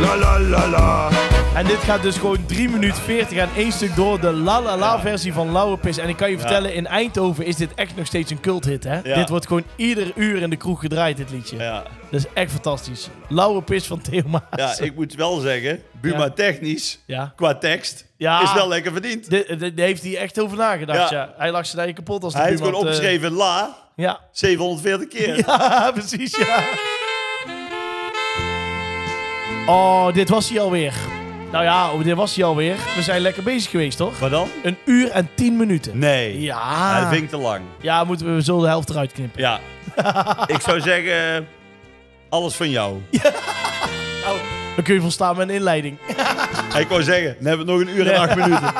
La la la la.
En dit gaat dus gewoon 3 minuten 40 en één stuk door de La La La versie van Lauwerpis. En ik kan je vertellen, in Eindhoven is dit echt nog steeds een culthit. Hè?
Ja.
Dit wordt gewoon ieder uur in de kroeg gedraaid, dit liedje.
Ja.
Dat is echt fantastisch. Lauwerpis van Theo Maas.
ja, ik moet wel zeggen, Buma
Ja.
technisch,
Ja.
qua tekst,
Ja.
is wel lekker verdiend.
Dit- dit- daar heeft hij echt over nagedacht, ja.
Ja.
Hij lag zijn eigen kapot als de
Hij heeft
buurman
gewoon
te-
opgeschreven la
Ja.
740
eh,
keer.
ja, precies, ja. Oh, dit was hij alweer. Nou ja, oh, dit was hij alweer. We zijn lekker bezig geweest, toch?
Maar dan?
Een uur en tien minuten.
Nee.
Ja.
Dat vind ik te lang.
Ja, moeten we, we zullen de helft eruit knippen.
Ja. ik zou zeggen, alles van jou.
Dan kun je volstaan met een inleiding.
Ik wou zeggen, dan hebben we nog een uur en acht minuten.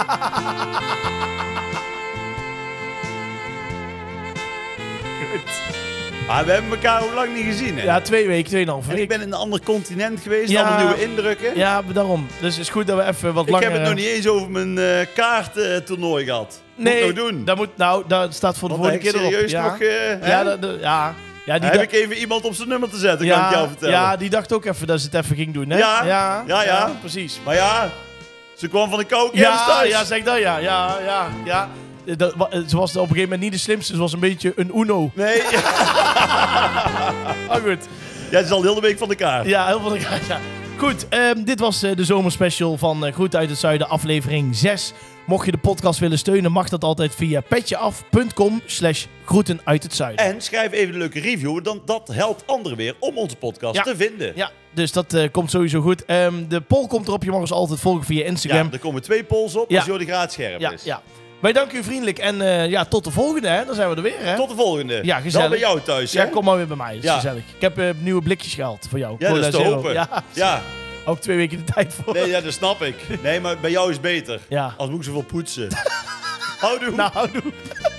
Maar we hebben elkaar ook lang niet gezien, hè?
Ja, twee weken, tweeënhalve
en
week.
ik ben in een ander continent geweest,
Ja.
allemaal nieuwe indrukken.
Ja, eh, maar daarom. Dus het is goed dat we even wat
Ik
langer...
heb het nog niet eens over mijn eh kaarttoernooi gehad.
Nee,
Moet ik nog doen.
Dat moet, nou, dat staat voor de
Want
volgende
heb
keer
ik
erop.
serieus
ja.
nog... eh, hè?
ja, dat- dat- ja. ja, die
heb
dag-
ik even iemand op zijn nummer te zetten, kan
ja,
ik jou vertellen.
ja, die dacht ook even dat ze het even ging doen, hè?
Ja.
ja,
Ja, ja.
precies.
Maar ja, ze kwam van de koude kermis
Ja,
thuis.
ja, zeg dat, ja, ja, ja, ja. Eh, Dat, wa- eh, ze was op een gegeven moment niet de slimste, ze was een beetje een uno.
Nee, ja, Ah,
Maar goed,
ze is al heel de week van de kaart.
ja, heel veel ja. Goed, ehm, dit was eh, de zomerspecial van eh, Groet uit het Zuiden, aflevering 6. Mocht je de podcast willen steunen, mag dat altijd via petjeaf.com slash groeten uit het Zuiden.
En schrijf even een leuke review, dan dat helpt anderen weer om onze podcast
Ja.
te vinden.
Ja, dus dat eh, komt sowieso goed. Ehm, de poll komt erop, je mag ons altijd volgen via
Ja,
Instagram.
er komen twee polls op
Ja.
als Jordi Graat scherp
Ja,
is.
ja. Wij danken u vriendelijk en eh, ja, tot de volgende, hè. Dan zijn we er weer, hè.
Tot de volgende.
Ja, gezellig.
Dan bij jou thuis,
Ja,
hè?
kom maar weer bij mij. Dat is
Ja.
gezellig. Ik heb eh, nieuwe blikjes gehaald voor jou.
Ja, dat
Cola
is te
Zero.
hopen.
Ja,
Ja,
ook twee weken de tijd voor.
Nee, ja, dat snap ik. Nee, maar bij jou is beter.
Ja.
Als moet ik zoveel poetsen. Houdoe.
Nou, doe.